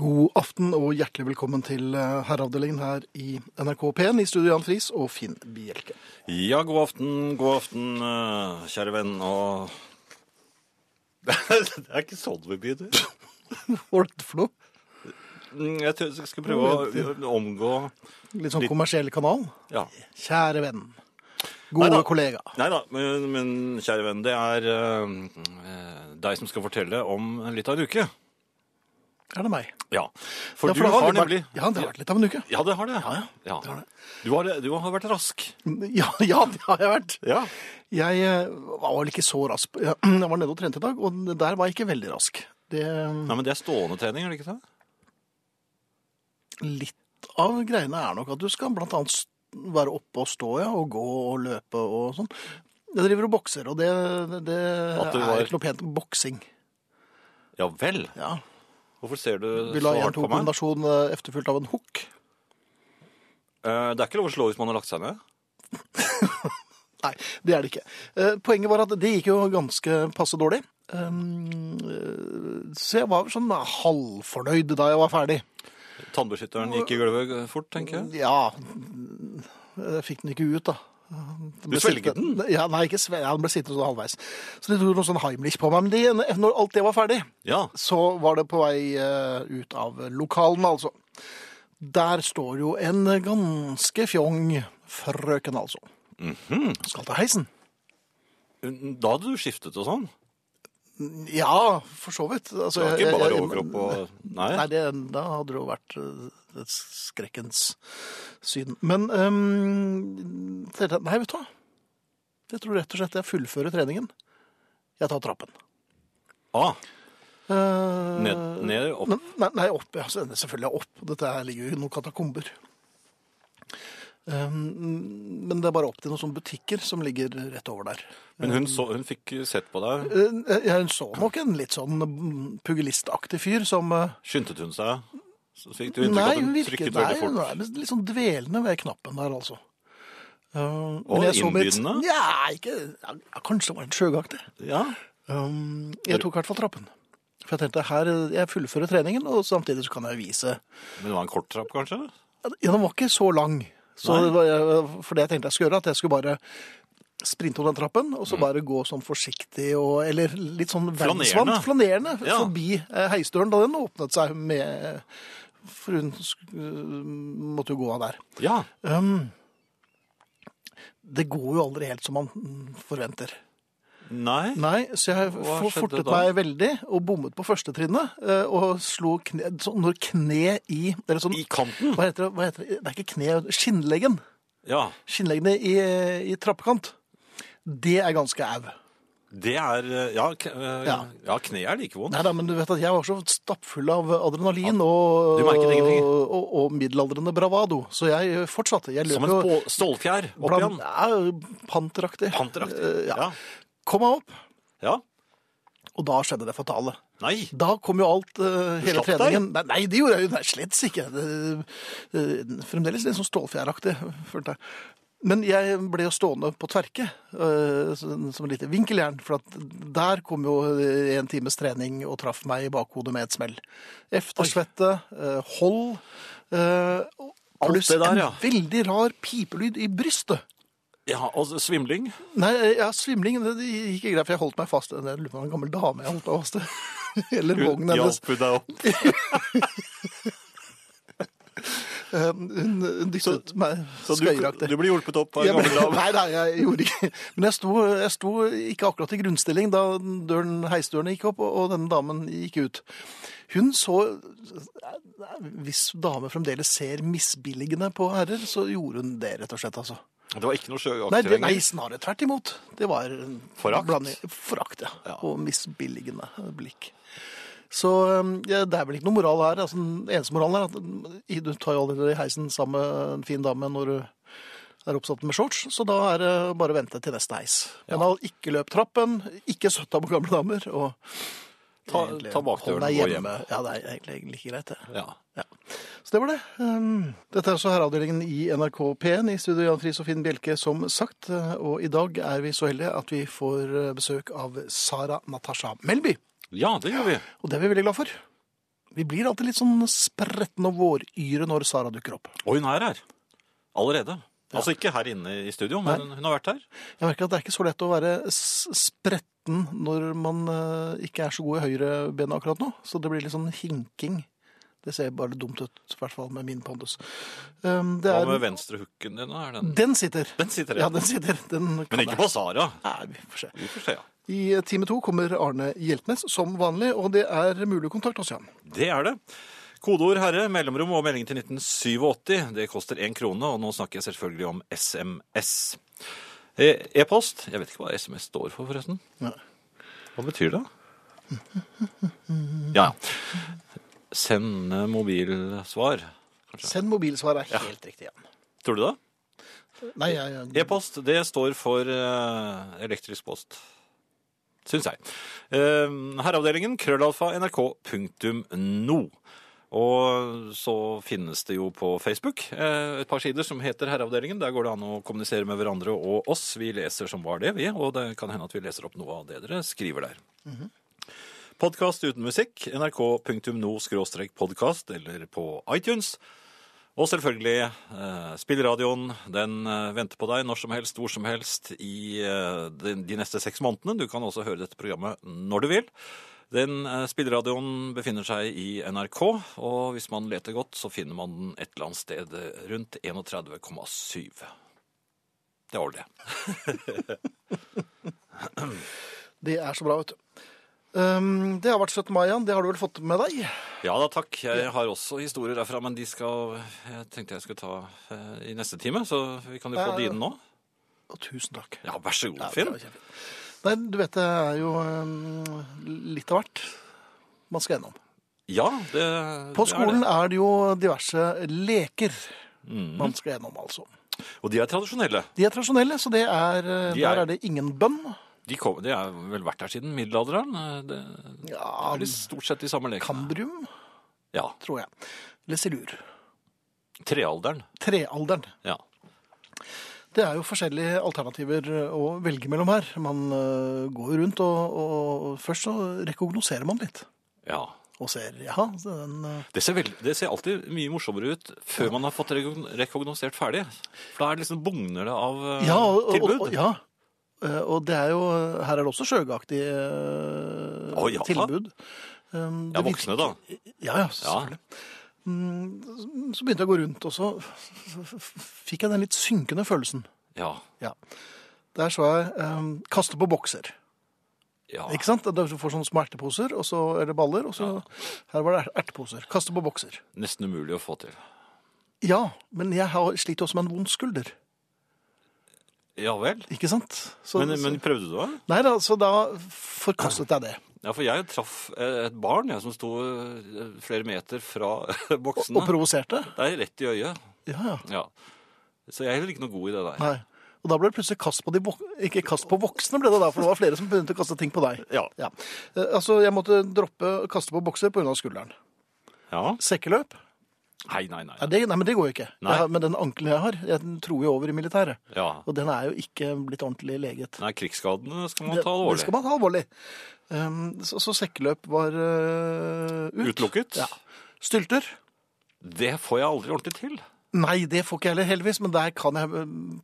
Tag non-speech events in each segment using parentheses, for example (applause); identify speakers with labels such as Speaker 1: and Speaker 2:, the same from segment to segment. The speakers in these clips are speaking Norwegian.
Speaker 1: God aften og hjertelig velkommen til eh, herreavdelingen her i NRK P1 i studio Jan Friis og Finn Bjelke.
Speaker 2: Ja, god aften, god aften, eh, kjære venn, og (laughs) Det er ikke sånn vi begynner.
Speaker 1: Hva er dette for noe?
Speaker 2: Mm, Jeg tror jeg skal prøve å omgå
Speaker 1: Litt sånn
Speaker 2: Litt-
Speaker 1: kommersiell kanal.
Speaker 2: Ja.
Speaker 1: Kjære venn. Gode
Speaker 2: Neida.
Speaker 1: kollega.
Speaker 2: Nei da, men, men kjære venn, det er eh, deg som skal fortelle om litt av en uke.
Speaker 1: Er det meg?
Speaker 2: Ja. For,
Speaker 1: Ja,
Speaker 2: du
Speaker 1: det
Speaker 2: har,
Speaker 1: vært,
Speaker 2: nemlig
Speaker 1: Ja, det har vært litt av en uke. (laughs)
Speaker 2: Ja, det har det.
Speaker 1: Ja, ja,
Speaker 2: Ja.
Speaker 1: det har det.
Speaker 2: Du, har, du har vært rask.
Speaker 1: Ja, ja, det har jeg vært.
Speaker 2: Ja.
Speaker 1: Jeg eh, var vel ikke så rask. (clears throat) Jeg var nede og trente i dag, og der var jeg ikke veldig rask. Det eh,
Speaker 2: Nei, men det er stående trening, er det ikke det?
Speaker 1: Litt av greiene er nok at du skal blant annet s- være oppe og stå, ja, og gå og løpe og sånn. Jeg driver og bokser, og det, det
Speaker 2: At du
Speaker 1: er
Speaker 2: var-
Speaker 1: ikke noe pent. Boksing.
Speaker 2: Ja vel.
Speaker 1: Ja.
Speaker 2: Hvorfor ser du
Speaker 1: Vil
Speaker 2: så
Speaker 1: ha en
Speaker 2: hardt på meg?
Speaker 1: kombinasjon efterfulgt av en hook?
Speaker 2: Eh, det er ikke lov å slå hvis man har lagt seg ned.
Speaker 1: Nei, det er det ikke. Eh, Poenget var at det gikk jo ganske passe dårlig. Um, eh, så jeg var sånn halvfornøyd da jeg var ferdig.
Speaker 2: Tannbeskytteren gikk i gulvet fort, tenker jeg.
Speaker 1: Ja, jeg fikk den ikke ut da. Den ble
Speaker 2: svelget
Speaker 1: sittende- Ja, nei, ikke svelget, den ble sittende sånn halvveis. Så det tok noe sånn Heimlich på meg. Men det, når alt det var ferdig,
Speaker 2: Ja.
Speaker 1: så var det på vei eh, ut av lokalen, altså. Der står jo en ganske fjong frøken, altså.
Speaker 2: Mhm.
Speaker 1: Skal ta heisen.
Speaker 2: Da hadde du skiftet og sånn.
Speaker 1: Ja, for så vidt. Altså,
Speaker 2: Det var
Speaker 1: jeg-
Speaker 2: ikke bare
Speaker 1: jeg-
Speaker 2: overkropp og Nei.
Speaker 1: Nei, det, da hadde det jo vært eh, et skrekkens syn. Men ehm, tenkte jeg, Nei, vet du hva? Jeg tror rett og slett jeg fullfører treningen. Jeg tar trappen.
Speaker 2: Ah,
Speaker 1: Eh,
Speaker 2: ned, ned, opp.
Speaker 1: Nei, nei, nei, opp. Ja, så- selvfølgelig opp. Dette her ligger jo i noen katakomber. Ehm, men det er bare opp til noen sånne butikker som ligger rett over der.
Speaker 2: Men hun, så, hun fikk sett på deg.
Speaker 1: Eh, Jeg så nok en litt sånn mm, pugilistaktig fyr som eh,
Speaker 2: Skyndte hun seg? Så fikk du inntrykk
Speaker 1: Nei,
Speaker 2: av at hun
Speaker 1: virket-
Speaker 2: trykket
Speaker 1: nei,
Speaker 2: veldig fort.
Speaker 1: Nei, men litt sånn dvelende ved knappen der, altså. Uh,
Speaker 2: innbydende?
Speaker 1: Ja, ikke, ja, kanskje det var litt sjøgaktig.
Speaker 2: Ja.
Speaker 1: Um, jeg tok i hvert fall trappen. For jeg tenkte, her, jeg fullfører treningen, og samtidig så kan jeg vise.
Speaker 2: Men det var en kort trapp, kanskje?
Speaker 1: Ja, den var ikke så lang. Så
Speaker 2: Nei.
Speaker 1: det var, jeg- for det jeg tenkte jeg skulle gjøre, at jeg skulle bare sprinte over den trappen,
Speaker 2: Mm.
Speaker 1: og så bare gå sånn forsiktig, og, eller litt sånn verdensvant, flanerende,
Speaker 2: Ja.
Speaker 1: forbi eh, heisdøren da den åpnet seg med, for hun sk- måtte jo gå av der.
Speaker 2: Ja.
Speaker 1: Um, det går jo aldri helt som man mm, forventer.
Speaker 2: Nei.
Speaker 1: Nei, så jeg
Speaker 2: Hva
Speaker 1: for-
Speaker 2: skjedde
Speaker 1: fortet
Speaker 2: da?
Speaker 1: meg veldig og bommet på første trinnet. eh, Og slo kne, sånn, når kne i Eller sånn
Speaker 2: I kanten?
Speaker 1: hva heter, det, hva heter det? Det er ikke kne, skinnleggen.
Speaker 2: Ja.
Speaker 1: Skinnleggene i, i trappekant. Det er ganske au.
Speaker 2: Det er Ja, k- eh,
Speaker 1: Ja.
Speaker 2: ja kneet er like vondt.
Speaker 1: Nei da, men du vet at jeg var så stappfull av adrenalin og,
Speaker 2: du merket
Speaker 1: og,
Speaker 2: ingenting.
Speaker 1: og, og middelaldrende bravado, så jeg fortsatte. Jeg
Speaker 2: Som
Speaker 1: løp
Speaker 2: en
Speaker 1: jo
Speaker 2: spå- stålfjær opp
Speaker 1: blant-
Speaker 2: igjen.
Speaker 1: ja, panteraktig. Eh,
Speaker 2: Panteraktig. Ja.
Speaker 1: ja. Kom meg opp.
Speaker 2: ja.
Speaker 1: Og da skjedde det fatale.
Speaker 2: Nei.
Speaker 1: Da kom jo alt, eh, hele
Speaker 2: slapp deg?
Speaker 1: treningen nei, nei, det gjorde jeg jo nei, slett ikke. Det, eh, fremdeles litt sånn stålfjæraktig, følte jeg. Men jeg ble jo stående på tverke, eh, som som et lite vinkeljern, for at der kom jo eh, en times trening og traff meg i bakhodet med et smell. Eftersvette, eh, hold, eh, og
Speaker 2: Alt
Speaker 1: pluss
Speaker 2: det der, ja.
Speaker 1: en veldig rar pipelyd i brystet.
Speaker 2: Ja, og svimling.
Speaker 1: Nei, eh, ja, svimling det det gikk ikke greit, for jeg holdt meg fast. Jeg lurer på om det var en gammel dame jeg holdt meg fast til. (laughs) Eller vognen hennes.
Speaker 2: Hjalp hun deg opp?
Speaker 1: Eh, Hun hun dyttet meg
Speaker 2: Så
Speaker 1: (laughs)
Speaker 2: du,
Speaker 1: skøyeraktig.
Speaker 2: du ble hjulpet opp av
Speaker 1: Jeg
Speaker 2: en gammel
Speaker 1: ble- (laughs)
Speaker 2: dame?
Speaker 1: Nei, nei, jeg gjorde ikke Men jeg sto, jeg sto ikke akkurat i grunnstilling da døren, heisdøren gikk opp, og, og denne damen gikk ut. Hun så Hvis dame fremdeles ser misbilligende på herrer, så gjorde hun det, rett og slett, altså.
Speaker 2: Det var ikke noe
Speaker 1: Nei,
Speaker 2: sjøaktig
Speaker 1: det, nei snarere tvert imot. Det var en
Speaker 2: Forakt?
Speaker 1: blanding- Forakt, ja.
Speaker 2: Ja.
Speaker 1: Og misbilligende blikk. Så um, ja, det er vel ikke noe moral her. Altså, den eneste moralen er at um, i- du tar jo allerede heisen sammen med en fin dame når du er oppsatt med shorts, så da er det bare å vente til neste heis. Men da ikke løp trappen, ikke søtta på gamle damer, og
Speaker 2: Ta- ta
Speaker 1: hold
Speaker 2: bakdøren
Speaker 1: deg
Speaker 2: og gå
Speaker 1: hjemme. Ja, det er egentlig, egentlig ikke greit, det.
Speaker 2: Ja.
Speaker 1: Ja. Så det var det. Um, Dette er altså herreavdelingen i NRK P1 i studio Jan Friis og Finn Bjelke, som sagt. Eh, Og i dag er vi så heldige at vi får eh, besøk av Sara Natasha Melby.
Speaker 2: ja, det gjør vi.
Speaker 1: Og det er vi veldig glad for. Vi blir alltid litt sånn spretne og våryre når Sara dukker opp.
Speaker 2: Og hun er her. Allerede. Altså ikke her inne i studio, men hun har vært her.
Speaker 1: Jeg merker at det er ikke så lett å være s- spretten når man eh, ikke er så god i høyrebenet akkurat nå. Så det blir litt sånn hinking. Det ser bare dumt ut, i hvert fall med min pondus. Um, det
Speaker 2: Hva
Speaker 1: er,
Speaker 2: med venstrehooken din? Er den?
Speaker 1: den sitter.
Speaker 2: den sitter
Speaker 1: Ja,
Speaker 2: jeg.
Speaker 1: den sitter. Den kan
Speaker 2: Men ikke
Speaker 1: jeg.
Speaker 2: på Sara.
Speaker 1: Nei, vi får se.
Speaker 2: Vi får se, ja.
Speaker 1: I eh, time to kommer Arne Hjeltnes som vanlig, og det er mulig kontakt hos ham.
Speaker 2: Det er det. Kodeord herre, mellomrom og melding til 1987. Det koster én krone, og nå snakker jeg selvfølgelig om SMS. Eh, E-post Jeg vet ikke hva SMS står for, forresten.
Speaker 1: Nei.
Speaker 2: Hva betyr det? Ja, ja. Sende mobilsvar.
Speaker 1: Send mobilsvar er helt riktig igjen.
Speaker 2: Tror du det?
Speaker 1: Nei, jeg, jeg,
Speaker 2: E-post, det står for eh, elektrisk post. Syns jeg. Eh, herreavdelingen krøllalfa nrk.no. Og så finnes det jo på Facebook eh, et par sider som heter Herreavdelingen. Der går det an å kommunisere med hverandre og oss. Vi leser som var det, vi. Og det kan hende at vi leser opp noe av det dere skriver der. Podkast uten musikk, nrk.no-podkast eller på iTunes. Og selvfølgelig, eh, spillradioen den eh, venter på deg når som helst, hvor som helst i eh, de, de neste seks månedene. Du kan også høre dette programmet når du vil. Den eh, spillradioen befinner seg i NRK, og hvis man leter godt, så finner man den et eller annet sted rundt 31,7. Det var det.
Speaker 1: det er så bra, vet du. Um, det har vært 17. mai, Jan. Det har du vel fått med deg?
Speaker 2: Ja da, takk. Jeg har også historier derfra, men de skal Jeg tenkte jeg skulle ta eh, i neste time, så vi kan jo få
Speaker 1: Ja, ja.
Speaker 2: dine nå.
Speaker 1: Å, tusen takk.
Speaker 2: Ja, vær så
Speaker 1: Eh,
Speaker 2: god,
Speaker 1: Ja, det
Speaker 2: Finn.
Speaker 1: var kjempefint. Nei, du vet det er jo um, litt av hvert man skal gjennom.
Speaker 2: Ja,
Speaker 1: På
Speaker 2: det det er det.
Speaker 1: skolen er det jo diverse leker
Speaker 2: Mhm.
Speaker 1: man skal gjennom, altså.
Speaker 2: Og de er tradisjonelle.
Speaker 1: De er tradisjonelle, så det er, uh,
Speaker 2: De er-
Speaker 1: der er det ingen bønn.
Speaker 2: De, kom, de har vel vært der siden middelalderen. eh, Det,
Speaker 1: Ja,
Speaker 2: er de stort sett de samme lekene.
Speaker 1: Kambrium,
Speaker 2: Ja,
Speaker 1: tror jeg. Eller silur.
Speaker 2: Trealderen.
Speaker 1: Trealderen.
Speaker 2: Ja.
Speaker 1: Det er jo forskjellige alternativer eh, å velge mellom her. Man øh, går rundt, og, og, og først så rekognoserer man litt.
Speaker 2: ja.
Speaker 1: Og ser, jaha, så den, øh,
Speaker 2: Det ser, veld, det ser alltid mye morsommere ut før man har fått rekogn- rekognosert ferdig. For da er det liksom bugner det av eh,
Speaker 1: ja, og, og,
Speaker 2: tilbud.
Speaker 1: og, ja. Eh, Og det er jo, her er det også sjøgaktig øh,
Speaker 2: Å, ja da.
Speaker 1: tilbud. Um,
Speaker 2: ja,
Speaker 1: det virker-
Speaker 2: voksne, da.
Speaker 1: Ja, ja,
Speaker 2: Ja.
Speaker 1: selvfølgelig. Mm, Så begynte jeg å gå rundt, og så f- f- fikk jeg den litt synkende følelsen.
Speaker 2: Ja.
Speaker 1: Ja. Der så jeg ehm, kaste på bokser.
Speaker 2: ja.
Speaker 1: Ikke sant? Da Du får sånne små erteposer, og så er det baller, og så Her var det er- erteposer. Kaste på bokser.
Speaker 2: Nesten umulig å få til.
Speaker 1: Ja, men jeg har sliter også med en vond skulder.
Speaker 2: Ja vel.
Speaker 1: Ikke sant? Så,
Speaker 2: Men, men prøvde du det?
Speaker 1: Nei da, så da forkastet jeg det.
Speaker 2: Ja, for jeg traff eh, et barn jeg, som sto eh, flere meter fra (laughs)
Speaker 1: Og
Speaker 2: boksene.
Speaker 1: provoserte.
Speaker 2: Det er rett i øyet.
Speaker 1: Ja, ja.
Speaker 2: Ja. Så jeg er heller ikke noe god i det der.
Speaker 1: Nei. Og da ble det plutselig kast på de vok Ikke kast på voksne, ble det da, for det var flere som begynte å kaste ting på deg.
Speaker 2: Ja.
Speaker 1: Ja. Eh, Altså, jeg måtte droppe å kaste på bokser pga. skulderen.
Speaker 2: ja.
Speaker 1: Sekkeløp?
Speaker 2: Nei, nei, nei.
Speaker 1: Nei, det, nei, men det går jo ikke.
Speaker 2: Nei.
Speaker 1: Jeg har, men den ankelen jeg har, jeg tror jo over i militæret.
Speaker 2: Ja.
Speaker 1: Og den er jo ikke blitt ordentlig leget.
Speaker 2: Nei, krigsskadene skal man
Speaker 1: Det-
Speaker 2: ta
Speaker 1: Det
Speaker 2: alvorlig.
Speaker 1: skal man ta alvorlig. Um, så, så sekkeløp var eh, ut.
Speaker 2: Utelukket?
Speaker 1: Ja. Stylter?
Speaker 2: Det får jeg aldri ordentlig til.
Speaker 1: Nei, det får ikke jeg heller, heldigvis. Men der kan jeg um,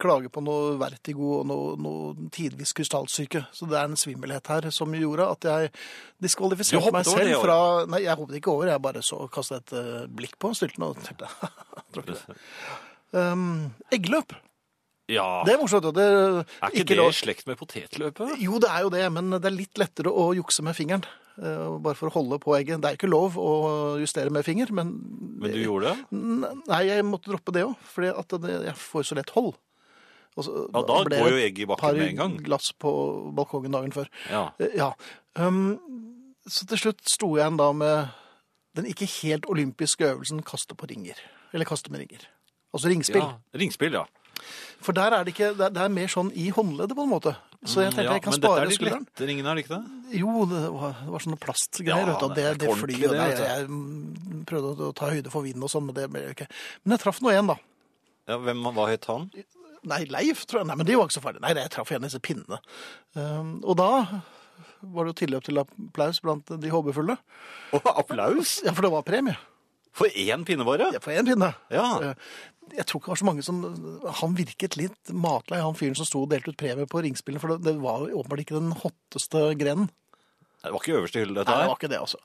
Speaker 1: klage på noe vertigo og noe, noe tidvis krystallsyke. Så det er en svimmelhet her som gjorde at jeg
Speaker 2: Du
Speaker 1: diskvalifiserte
Speaker 2: hoppet
Speaker 1: meg
Speaker 2: over det
Speaker 1: selv fra Nei, jeg hoppet ikke over. Jeg bare så kastet et eh, blikk på styltene og tenkte (laughs) Tror ikke det. Um, eggløp.
Speaker 2: Ja.
Speaker 1: Det er morsomt. og Det,
Speaker 2: er ikke, det
Speaker 1: lov-
Speaker 2: i slekt med potetløpet?
Speaker 1: Jo, det er jo det, men det er litt lettere å jukse med fingeren. eh, Bare for å holde på egget. Det er ikke lov å justere med finger, men,
Speaker 2: Men du gjorde det?
Speaker 1: Nei, jeg måtte droppe det òg, for jeg får så lett hold. Og så-
Speaker 2: Ja, da
Speaker 1: ble
Speaker 2: går jo
Speaker 1: jeg
Speaker 2: egget i
Speaker 1: et par
Speaker 2: bakken med en gang.
Speaker 1: glass på balkongen dagen før.
Speaker 2: Ja.
Speaker 1: Eh, Ja. Um, så til slutt sto jeg igjen da med den ikke helt olympiske øvelsen kaste på ringer. Eller kaste med ringer. Altså ringspill.
Speaker 2: ja. Ringspill, ja.
Speaker 1: For der er det ikke, det er, det er mer sånn i håndleddet, på en måte. Så jeg tenkte
Speaker 2: Mm, ja
Speaker 1: jeg kan
Speaker 2: men dette
Speaker 1: spare
Speaker 2: er de
Speaker 1: skulderen.
Speaker 2: lette ringene, er det ikke det?
Speaker 1: Jo, det var, det var sånne plastgreier.
Speaker 2: Ja,
Speaker 1: vet du, og
Speaker 2: det
Speaker 1: det,
Speaker 2: er
Speaker 1: det,
Speaker 2: ikke ordentlig,
Speaker 1: flyr og
Speaker 2: det,
Speaker 1: nei,
Speaker 2: vet du.
Speaker 1: Jeg mm, prøvde å- å ta høyde for vind og sånn, men det ble jo ikke. Men jeg traff nå en, da.
Speaker 2: Ja, hvem, hva het
Speaker 1: (laughs)
Speaker 2: han?
Speaker 1: Nei, Leif, tror jeg. Nei, men det var ikke så farlig. Nei, nei, jeg traff en av disse pinnene. Um, og da var det jo tilløp til applaus blant de håpefulle.
Speaker 2: Og applaus
Speaker 1: Ja, for det var premie.
Speaker 2: for én pinnevare!
Speaker 1: Ja, For én pinne.
Speaker 2: Ja.
Speaker 1: Eh, Jeg tror ikke det var så mange som Han virket litt matlei, han fyren som sto og delte ut premie på ringspillene, for det, det var jo åpenbart ikke den hotteste grenen.
Speaker 2: Det var ikke øverste hylle,
Speaker 1: Nei,
Speaker 2: dette
Speaker 1: det
Speaker 2: (laughs) her.
Speaker 1: var ikke det, altså.